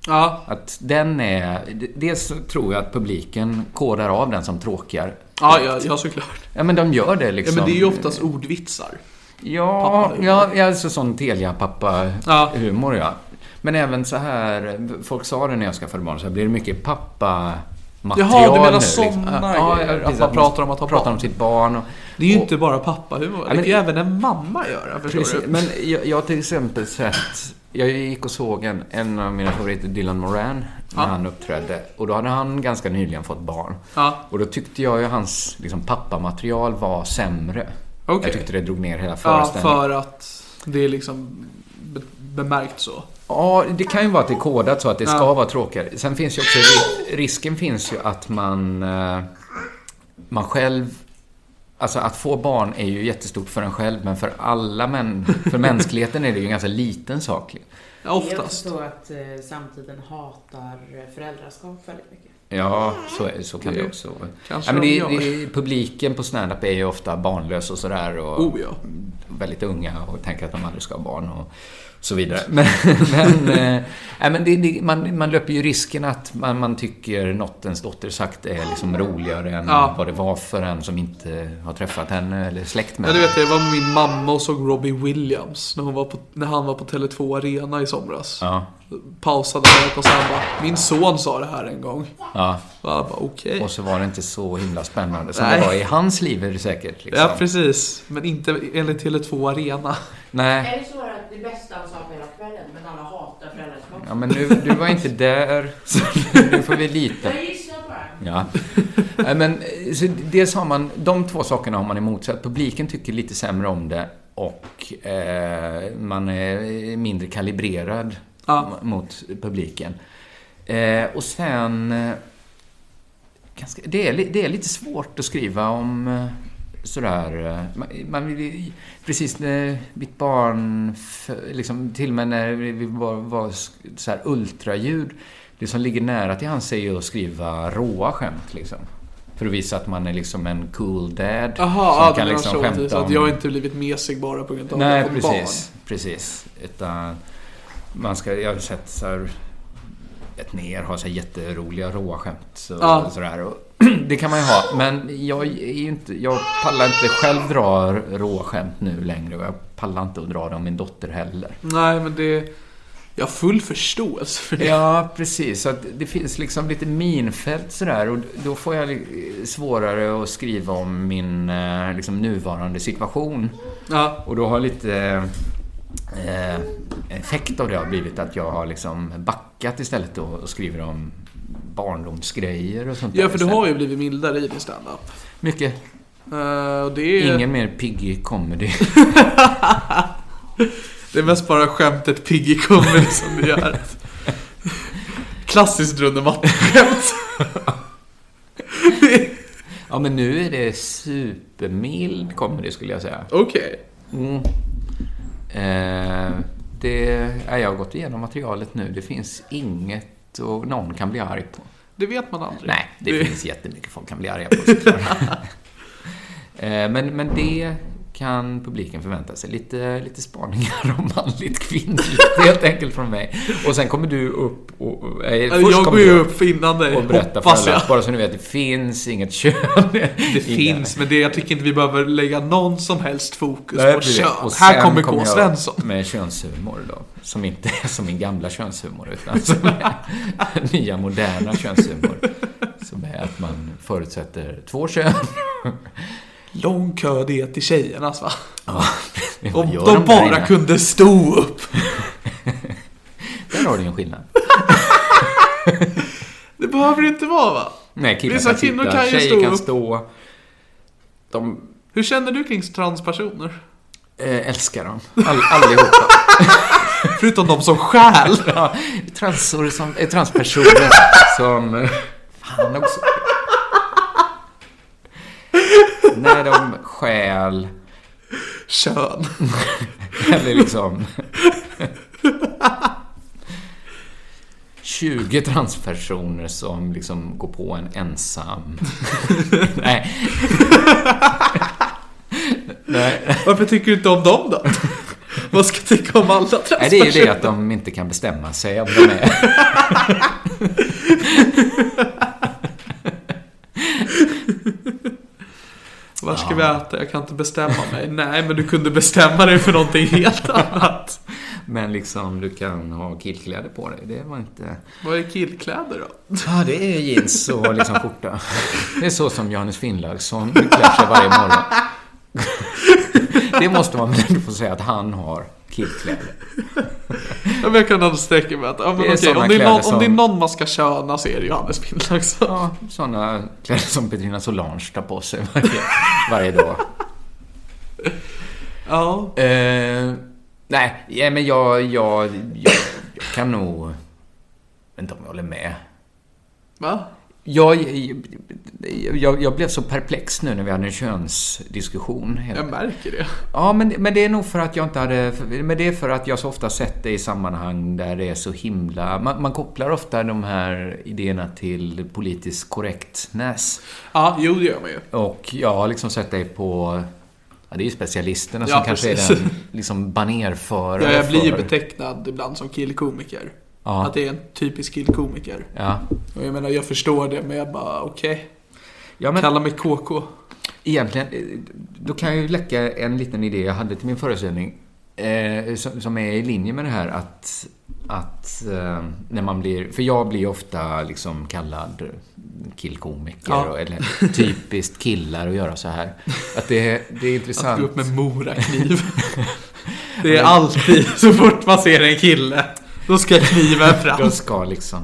[SPEAKER 3] Ja,
[SPEAKER 4] Att den är... d- Dels så tror jag att publiken kodar av den som tråkigare.
[SPEAKER 3] ja, ja, ja såklart.
[SPEAKER 4] Ja, men de gör det
[SPEAKER 3] Ja,
[SPEAKER 4] liksom.
[SPEAKER 3] men det är ju oftast ordvitsar.
[SPEAKER 4] Ja,
[SPEAKER 3] pappa-humor.
[SPEAKER 4] ja, ja, alltså sån Telia-pappa-humor,
[SPEAKER 3] Ja.
[SPEAKER 4] ja. Men även så här... Folk sa det när jag skaffade barn, så här, blir det mycket pappa-material
[SPEAKER 3] Jaha, du menar
[SPEAKER 4] nu, liksom?
[SPEAKER 3] såna
[SPEAKER 4] Ja,
[SPEAKER 3] grejer,
[SPEAKER 4] ja, precis,
[SPEAKER 3] att man pratar om att ha
[SPEAKER 4] pratar
[SPEAKER 3] barn.
[SPEAKER 4] om sitt barn. Och,
[SPEAKER 3] Det är ju
[SPEAKER 4] och-
[SPEAKER 3] inte bara pappahumor.
[SPEAKER 4] men-
[SPEAKER 3] Det kan ju även en mamma göra, förstår
[SPEAKER 4] Precis,
[SPEAKER 3] du?
[SPEAKER 4] men jag, jag har till exempel sett Jag gick och såg en, en av mina favoriter, Dylan Moran, när
[SPEAKER 3] Ja.
[SPEAKER 4] han uppträdde. Och då hade han ganska nyligen fått barn.
[SPEAKER 3] Ja.
[SPEAKER 4] Och då tyckte jag ju hans liksom, pappamaterial var sämre.
[SPEAKER 3] Okej.
[SPEAKER 4] Jag tyckte det drog ner hela
[SPEAKER 3] Ja,
[SPEAKER 4] föreställningen.
[SPEAKER 3] för att det är liksom be- bemärkt så.
[SPEAKER 4] Ja, det kan ju vara att det är kodat så att det ska
[SPEAKER 3] Ja.
[SPEAKER 4] vara tråkigare. Sen finns ju också ri- risken finns ju att man, eh, man själv Alltså att få barn är ju jättestort för en själv, men för alla män, för mänskligheten är det ju en ganska liten sak.
[SPEAKER 3] Ja,
[SPEAKER 5] Det är
[SPEAKER 3] oftast.
[SPEAKER 5] också så att eh, samtiden hatar eh, föräldraskap väldigt mycket.
[SPEAKER 4] Ja, så, är- så kan det
[SPEAKER 3] Det
[SPEAKER 4] också vara.
[SPEAKER 3] kanske
[SPEAKER 4] Ja, men det,
[SPEAKER 3] de gör.
[SPEAKER 4] det, publiken på standup är ju ofta barnlös och sådär. Och
[SPEAKER 3] Oh, ja.
[SPEAKER 4] Väldigt unga och tänker att de aldrig ska ha barn och så vidare. Men, men, eh, nej, men det, det, man, man löper ju risken att man, man tycker något ens dotter sagt är liksom roligare än
[SPEAKER 3] Ja.
[SPEAKER 4] vad det var för en som inte har träffat henne eller är släkt med
[SPEAKER 3] Ja, du
[SPEAKER 4] henne.
[SPEAKER 3] vet, jag var med min mamma och såg Robbie Williams när, hon var på, när han var på Tele2 Arena i somras.
[SPEAKER 4] Ja,
[SPEAKER 3] Pausade och så han bara, min son sa det här en gång.
[SPEAKER 4] ja.
[SPEAKER 3] Och jag bara, okej.
[SPEAKER 4] Och så var det inte så himla spännande som
[SPEAKER 3] Nej.
[SPEAKER 4] det var i hans liv är det säkert. Liksom.
[SPEAKER 3] Ja, precis. Men inte enligt Tele2 Arena.
[SPEAKER 4] Nej.
[SPEAKER 5] Är det så att det bästa han sa på hela kvällen, men alla hatar föräldraskap?
[SPEAKER 4] Ja, men nu, du var inte där, så nu får vi lita
[SPEAKER 5] Jag gissar bara.
[SPEAKER 4] Ja. Nej, men, eh, så dels har man, de två sakerna har man emot sig. Att Publiken tycker lite sämre om det och eh, man är mindre kalibrerad
[SPEAKER 3] Ja.
[SPEAKER 4] m- mot publiken. Eh, och sen... Eh, ganska, det, är, li- det är lite svårt att skriva om eh, sådär... eh, Man, man vill, ju- precis när mitt barn... fö- Liksom, till och med när vi var, var sk- så här ultraljud. Det som ligger nära till hans är ju att skriva råa skämt. Liksom. För att visa att man är liksom en cool dad.
[SPEAKER 3] Jaha, ja, det
[SPEAKER 4] liksom
[SPEAKER 3] liksom så, så
[SPEAKER 4] skämta
[SPEAKER 3] att
[SPEAKER 4] om-
[SPEAKER 3] jag har inte blivit mesig bara på grund av att jag
[SPEAKER 4] Nej,
[SPEAKER 3] har fått
[SPEAKER 4] precis. Precis. Utan man ska, jag har sett så här, ett ner har så här jätteroliga råa skämt. Så,
[SPEAKER 3] Ja.
[SPEAKER 4] sådär. Och det kan man ju ha. Men jag, är ju inte, jag pallar inte själv dra råa skämt nu längre. Och jag pallar inte att dra dem min dotter heller.
[SPEAKER 3] barn. Nej, men det... Jag har full förståelse för det.
[SPEAKER 4] Ja, precis. Så att det finns liksom lite minfält sådär. Och då får jag li- svårare att skriva om min eh, liksom, nuvarande situation.
[SPEAKER 3] Ja,
[SPEAKER 4] Och då har lite eh, effekt av det har blivit att jag har liksom backat istället då och skriver om barndomsgrejer och sånt
[SPEAKER 3] ja
[SPEAKER 4] där
[SPEAKER 3] för du
[SPEAKER 4] istället.
[SPEAKER 3] har ju blivit mildare i din standup.
[SPEAKER 4] Mycket.
[SPEAKER 3] Eh, och det är...
[SPEAKER 4] Ingen mer piggy comedy.
[SPEAKER 3] Det är mest bara skämtet Piggy Comedy som du gör. Klassiskt dundermatta-skämt.
[SPEAKER 4] ja, men nu är det supermild comedy skulle jag säga.
[SPEAKER 3] Okej.
[SPEAKER 4] Mm. Eh, det, ja, jag har gått igenom materialet nu. Det finns inget och någon kan bli arg på.
[SPEAKER 3] Det vet man aldrig.
[SPEAKER 4] Nej, det, finns jättemycket folk kan bli arga på såklart. Eh, men, men det kan publiken förvänta sig. Lite, lite spaningar om manligt kvinnligt helt enkelt från mig. Och sen kommer du upp och... och- eh,
[SPEAKER 3] Eller,
[SPEAKER 4] först
[SPEAKER 3] Jag
[SPEAKER 4] kommer
[SPEAKER 3] går ju
[SPEAKER 4] du
[SPEAKER 3] upp innan dig,
[SPEAKER 4] och berättar för
[SPEAKER 3] hoppas jag.
[SPEAKER 4] alla. Bara så ni vet, det finns inget kön.
[SPEAKER 3] Det finns, men det, jag tycker inte vi behöver lägga någon som helst fokus på kön.
[SPEAKER 4] Och sen
[SPEAKER 3] Här kommer K.
[SPEAKER 4] jag
[SPEAKER 3] Svensson.
[SPEAKER 4] Med könshumor då. Som inte är som min gamla könshumor, utan som är nya moderna könshumor. Som är att man förutsätter två kön.
[SPEAKER 3] Lång kö det är till tjejernas va?
[SPEAKER 4] Ja,
[SPEAKER 3] Om
[SPEAKER 4] vad
[SPEAKER 3] de,
[SPEAKER 4] gör
[SPEAKER 3] bara
[SPEAKER 4] där inne?
[SPEAKER 3] kunde stå upp.
[SPEAKER 4] Där har du ju en skillnad.
[SPEAKER 3] Det behöver det inte vara va?
[SPEAKER 4] Nej, killar
[SPEAKER 3] Vissa
[SPEAKER 4] kan
[SPEAKER 3] kvinnor
[SPEAKER 4] sitta,
[SPEAKER 3] kan ju
[SPEAKER 4] tjejer
[SPEAKER 3] stå
[SPEAKER 4] kan
[SPEAKER 3] upp.
[SPEAKER 4] stå. De
[SPEAKER 3] Hur känner du kring transpersoner?
[SPEAKER 4] eh, älskar dem. All, allihopa.
[SPEAKER 3] Förutom de som stjäl.
[SPEAKER 4] Ja, Transor som, eh, transpersoner som... Fan också. När de stjäl
[SPEAKER 3] Kön.
[SPEAKER 4] Eller liksom... 20 transpersoner som liksom går på en ensam... Nej. Nej.
[SPEAKER 3] Varför tycker du inte om dem då? Vad ska jag tycka om alla
[SPEAKER 4] Nej, det är ju det
[SPEAKER 3] transpersoner?
[SPEAKER 4] att de inte kan bestämma sig om de är...
[SPEAKER 3] Var ska vi äta? Jag kan inte bestämma mig. Nej, men du kunde bestämma dig för någonting helt annat.
[SPEAKER 4] Men liksom, du kan ha killkläder på dig. Det var inte...
[SPEAKER 3] Vad är killkläder då?
[SPEAKER 4] Ja, det är jeans och liksom skjorta. Det är så som Johannes Finnlaugsson klär sig varje morgon. Det måste man väl ändå få säga att han har
[SPEAKER 7] killkläder.
[SPEAKER 3] Ja, men Jag kan ändå sträcka mig att, ja, men
[SPEAKER 7] Det är
[SPEAKER 3] okej,
[SPEAKER 7] såna
[SPEAKER 3] om, det är
[SPEAKER 7] kläder
[SPEAKER 3] någon,
[SPEAKER 7] som-
[SPEAKER 3] om det är någon man ska köna så är det Johannes Pinnlax.
[SPEAKER 4] Ja, sådana kläder som Petrina Solange tar på sig varje, varje dag.
[SPEAKER 3] Ja.
[SPEAKER 4] Eh, nej, ja, men jag, jag, jag, jag kan nog... Jag vet inte om jag håller med.
[SPEAKER 3] Va?
[SPEAKER 4] Jag, jag, jag blev så perplex nu när vi hade en könsdiskussion.
[SPEAKER 3] Jag märker det.
[SPEAKER 4] Ja, men, men det är nog för att jag inte hade... för- Men det är för att jag så ofta sett det i sammanhang där det är så himla... Man, man kopplar ofta de här idéerna till politisk korrektness.
[SPEAKER 3] Ja, jo det gör man ju.
[SPEAKER 4] Och jag har liksom sett dig på... Ja, det är ju specialisterna som
[SPEAKER 3] Ja,
[SPEAKER 4] kanske är
[SPEAKER 3] precis.
[SPEAKER 4] den liksom banerförare
[SPEAKER 3] Ja, jag blir ju
[SPEAKER 4] för-
[SPEAKER 3] betecknad ibland som killkomiker.
[SPEAKER 4] Ja.
[SPEAKER 3] Att det är en typisk killkomiker.
[SPEAKER 4] Ja.
[SPEAKER 3] Och jag menar, jag förstår det, men jag bara okej.
[SPEAKER 4] ja, men
[SPEAKER 3] Kalla mig KK.
[SPEAKER 4] egentligen... eh, Då kan jag ju läcka en liten idé jag hade till min föreställning. Eh, som, som är i linje med det här att... Att eh, när man blir... För jag blir ju ofta liksom kallad killkomiker.
[SPEAKER 3] Ja.
[SPEAKER 4] Och, eller typiskt killar att göra så här. Att det, det är intressant.
[SPEAKER 3] Att gå upp med morakniv. det är alltid så fort man ser en kille. Då ska kniven fram.
[SPEAKER 4] Jag ska liksom...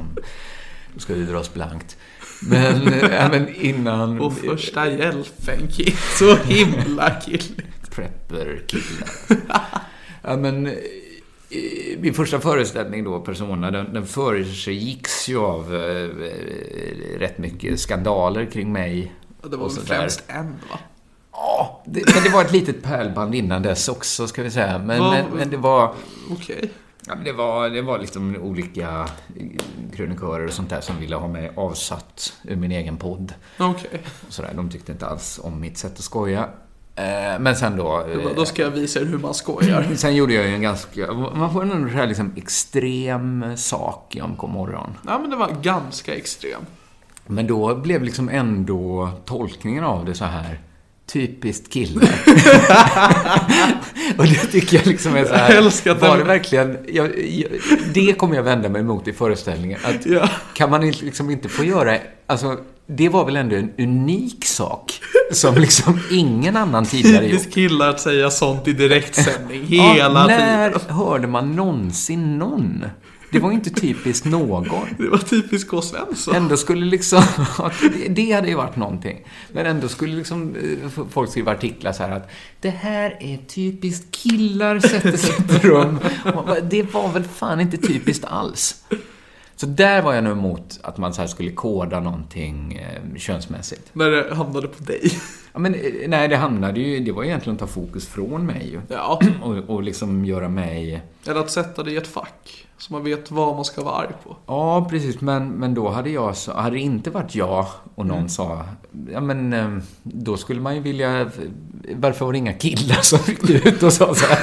[SPEAKER 4] Då ska det dras blankt. Men, eh, ja, men innan...
[SPEAKER 3] Och första hjälpen kill. Så himla kill.
[SPEAKER 4] Prepper-killar. ja, men... eh, i- Min första föreställning då, Persona, den, den föregicks ju av eh, eh, rätt mycket skandaler kring mig.
[SPEAKER 3] Det var
[SPEAKER 4] och
[SPEAKER 3] väl
[SPEAKER 4] sådär.
[SPEAKER 3] främst en va?
[SPEAKER 4] Ja, det, men det var ett litet pärlband innan dess också, ska vi säga. Men,
[SPEAKER 3] Vad-
[SPEAKER 4] men, men det var...
[SPEAKER 3] Okej.
[SPEAKER 4] Ja, men det, var, det var liksom olika eh, krönikörer och sånt där som ville ha mig avsatt ur min egen podd.
[SPEAKER 3] Okej.
[SPEAKER 4] Och sådär. De tyckte inte alls om mitt sätt att skoja. Eh, men sen då...
[SPEAKER 3] Jag bara,
[SPEAKER 4] eh,
[SPEAKER 3] Då ska jag visa er hur man skojar.
[SPEAKER 4] Mm, Sen gjorde jag ju en ganska... Man får en här liksom extrem sak i Omkom morgon.
[SPEAKER 3] Ja men det var ganska extrem.
[SPEAKER 4] Men då blev liksom ändå tolkningen av det så här... Typiskt killar. och det tycker jag liksom är så här...
[SPEAKER 3] Jag älskar att
[SPEAKER 4] var
[SPEAKER 3] den-
[SPEAKER 4] det verkligen... Jag, jag, det kommer jag vända mig emot i föreställningen. Att
[SPEAKER 3] Ja.
[SPEAKER 4] Kan man inte- liksom inte få göra... Alltså, det var väl ändå en unik sak som liksom ingen annan tidigare gjort.
[SPEAKER 3] Typiskt killar att säga sånt i direktsändning
[SPEAKER 4] Ja,
[SPEAKER 3] hela
[SPEAKER 4] när
[SPEAKER 3] tiden.
[SPEAKER 4] hörde man någonsin någon? Det var ju inte typiskt någon.
[SPEAKER 3] Det var typiskt K. Svensson.
[SPEAKER 4] Ändå skulle liksom... det- Det hade ju varit någonting. Men ändå skulle liksom eh, f- folk skriva artiklar så här att det här är typiskt killar sätter sig i ett rum. Och man bara, Det var väl fan inte typiskt alls. Så där var jag nog emot att man så här skulle koda någonting eh, könsmässigt.
[SPEAKER 3] När det hamnade på dig.
[SPEAKER 4] Ja, men, eh, nej, det handlade ju... Det var egentligen att ta fokus från mig ju.
[SPEAKER 3] Ja.
[SPEAKER 4] Och, och liksom göra mig...
[SPEAKER 3] Eller att sätta det i ett fack. Så man vet vad man ska vara arg på.
[SPEAKER 4] Ja, precis. Men, men då hade jag så, hade det inte varit jag och
[SPEAKER 3] Mm.
[SPEAKER 4] någon sa, ja men eh, då skulle man ju vilja, varför var det inga killar som gick ut och sa så här?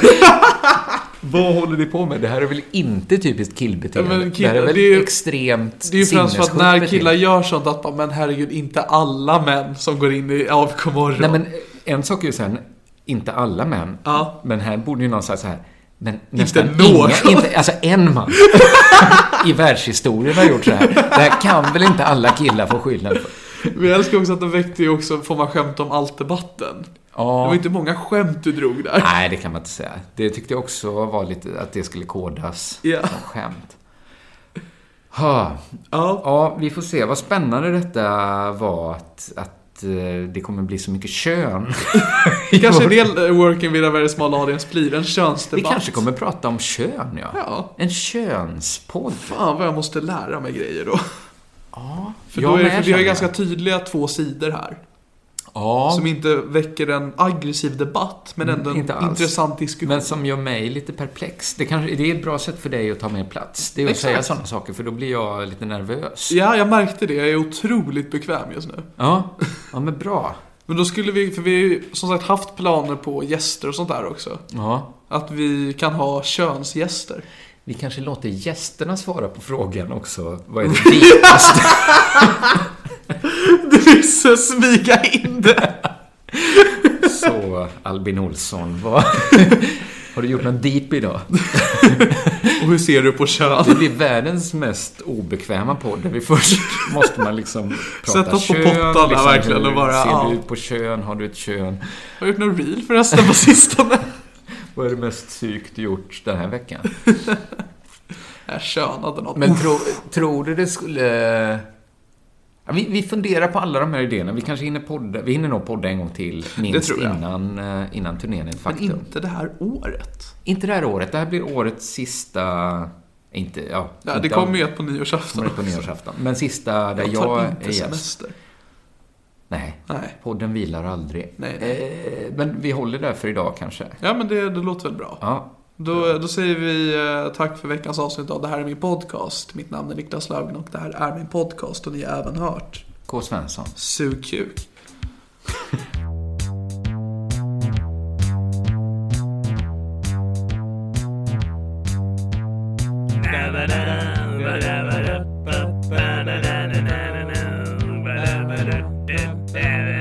[SPEAKER 4] Vad håller ni på med? Det här är väl inte typiskt killbeteende?
[SPEAKER 3] Ja, men
[SPEAKER 4] det här är
[SPEAKER 3] killar-
[SPEAKER 4] väl
[SPEAKER 3] det är ju-
[SPEAKER 4] extremt
[SPEAKER 3] Det är ju främst för att när
[SPEAKER 4] sinnessjukt
[SPEAKER 3] killar
[SPEAKER 4] beteende.
[SPEAKER 3] gör sånt att man, men herregud, inte alla män som går in i avkomorgon.
[SPEAKER 4] Nej men eh, en sak är ju sen, inte alla män,
[SPEAKER 3] Ja.
[SPEAKER 4] men här borde ju någon säga så här, men nästan
[SPEAKER 3] någon.
[SPEAKER 4] inga, inte, alltså en man i världshistorien har gjort så här. Det här kan väl inte alla killar få skillnad för?
[SPEAKER 3] Men jag älskar också att den väckte ju också, får man skämt om allt-debatten. Det var
[SPEAKER 4] Ja.
[SPEAKER 3] inte många skämt du drog där.
[SPEAKER 4] Nej, det kan man inte säga. Det tyckte jag också var lite att det skulle kodas
[SPEAKER 3] Ja.
[SPEAKER 4] som skämt. Ha.
[SPEAKER 3] Ja.
[SPEAKER 4] Ja, vi får se. Vad spännande detta var att, att eh, det kommer bli så mycket kön.
[SPEAKER 3] Kanske en del eh, working with a very small audience blir en
[SPEAKER 4] Vi
[SPEAKER 3] könsdebatt.
[SPEAKER 4] kanske kommer prata om kön, ja.
[SPEAKER 3] Ja.
[SPEAKER 4] En könspodd.
[SPEAKER 3] Fan vad jag måste lära mig grejer då. För,
[SPEAKER 4] Jag
[SPEAKER 3] då är,
[SPEAKER 4] med,
[SPEAKER 3] för
[SPEAKER 4] känner
[SPEAKER 3] vi har
[SPEAKER 4] jag.
[SPEAKER 3] ju ganska tydliga två sidor här.
[SPEAKER 4] Ja, Mm,
[SPEAKER 3] Som inte väcker en aggressiv debatt, men ändå en
[SPEAKER 4] inte alls.
[SPEAKER 3] intressant diskussion.
[SPEAKER 4] men som gör mig lite perplex. Det, kanske, det är ett bra sätt för dig att ta mer plats. Det är att
[SPEAKER 3] Exakt.
[SPEAKER 4] säga sådana saker, för då blir jag lite nervös.
[SPEAKER 3] Ja, jag märkte det. Jag är otroligt bekväm just nu.
[SPEAKER 4] Ja, ja men bra.
[SPEAKER 3] Men då skulle vi, för vi har ju som sagt haft planer på gäster och sånt där också.
[SPEAKER 4] Ja.
[SPEAKER 3] Att vi kan ha könsgäster.
[SPEAKER 4] Vi kanske låter gästerna svara på frågan också. Vad är det djupaste?
[SPEAKER 3] Du visste smyga in det!
[SPEAKER 4] Så, Albin Olsson, vad... Har du gjort något deep idag?
[SPEAKER 3] Och hur ser du på kön?
[SPEAKER 4] Det blir världens mest obekväma podd. där Vi först måste man liksom prata
[SPEAKER 3] Sätta oss på
[SPEAKER 4] kön.
[SPEAKER 3] pottan där
[SPEAKER 4] liksom,
[SPEAKER 3] verkligen och bara,
[SPEAKER 4] Hur ser
[SPEAKER 3] ja.
[SPEAKER 4] du ut på kön? Har du ett kön?
[SPEAKER 3] Har du gjort någon reel förresten på sistone?
[SPEAKER 6] Vad är det mest psykt gjort den här veckan?
[SPEAKER 3] Jag könade något.
[SPEAKER 6] Men tro, tror du det skulle... Ja, vi, vi funderar på alla de här idéerna. Vi kanske hinner podda. Vi hinner nog podda en gång till, minst
[SPEAKER 3] tror jag.
[SPEAKER 6] innan, eh, innan turnén är ett
[SPEAKER 3] Men
[SPEAKER 6] faktum.
[SPEAKER 3] inte det här året.
[SPEAKER 6] Inte det här året. Det här blir årets sista... Inte, ja,
[SPEAKER 3] Ja,
[SPEAKER 6] inte
[SPEAKER 3] det kommer
[SPEAKER 6] om-
[SPEAKER 3] ju ett på nyårsafton.
[SPEAKER 6] kommer ett på
[SPEAKER 3] också.
[SPEAKER 6] nyårsafton. Men sista där
[SPEAKER 3] Jag
[SPEAKER 6] jag,
[SPEAKER 3] tar
[SPEAKER 6] är
[SPEAKER 3] inte
[SPEAKER 6] gäst.
[SPEAKER 3] semester.
[SPEAKER 6] Nej,
[SPEAKER 3] Nej.
[SPEAKER 6] podden vilar aldrig.
[SPEAKER 3] Nej,
[SPEAKER 6] Eh, men vi håller där för idag kanske.
[SPEAKER 3] Ja, men det, det låter väl bra.
[SPEAKER 6] Ja,
[SPEAKER 3] Då, då säger vi eh, tack för veckans avsnitt av Det här är min podcast. Mitt namn är Niklas Löfgren och det här är min podcast och ni har även hört
[SPEAKER 6] K. Svensson.
[SPEAKER 3] Sug kuk.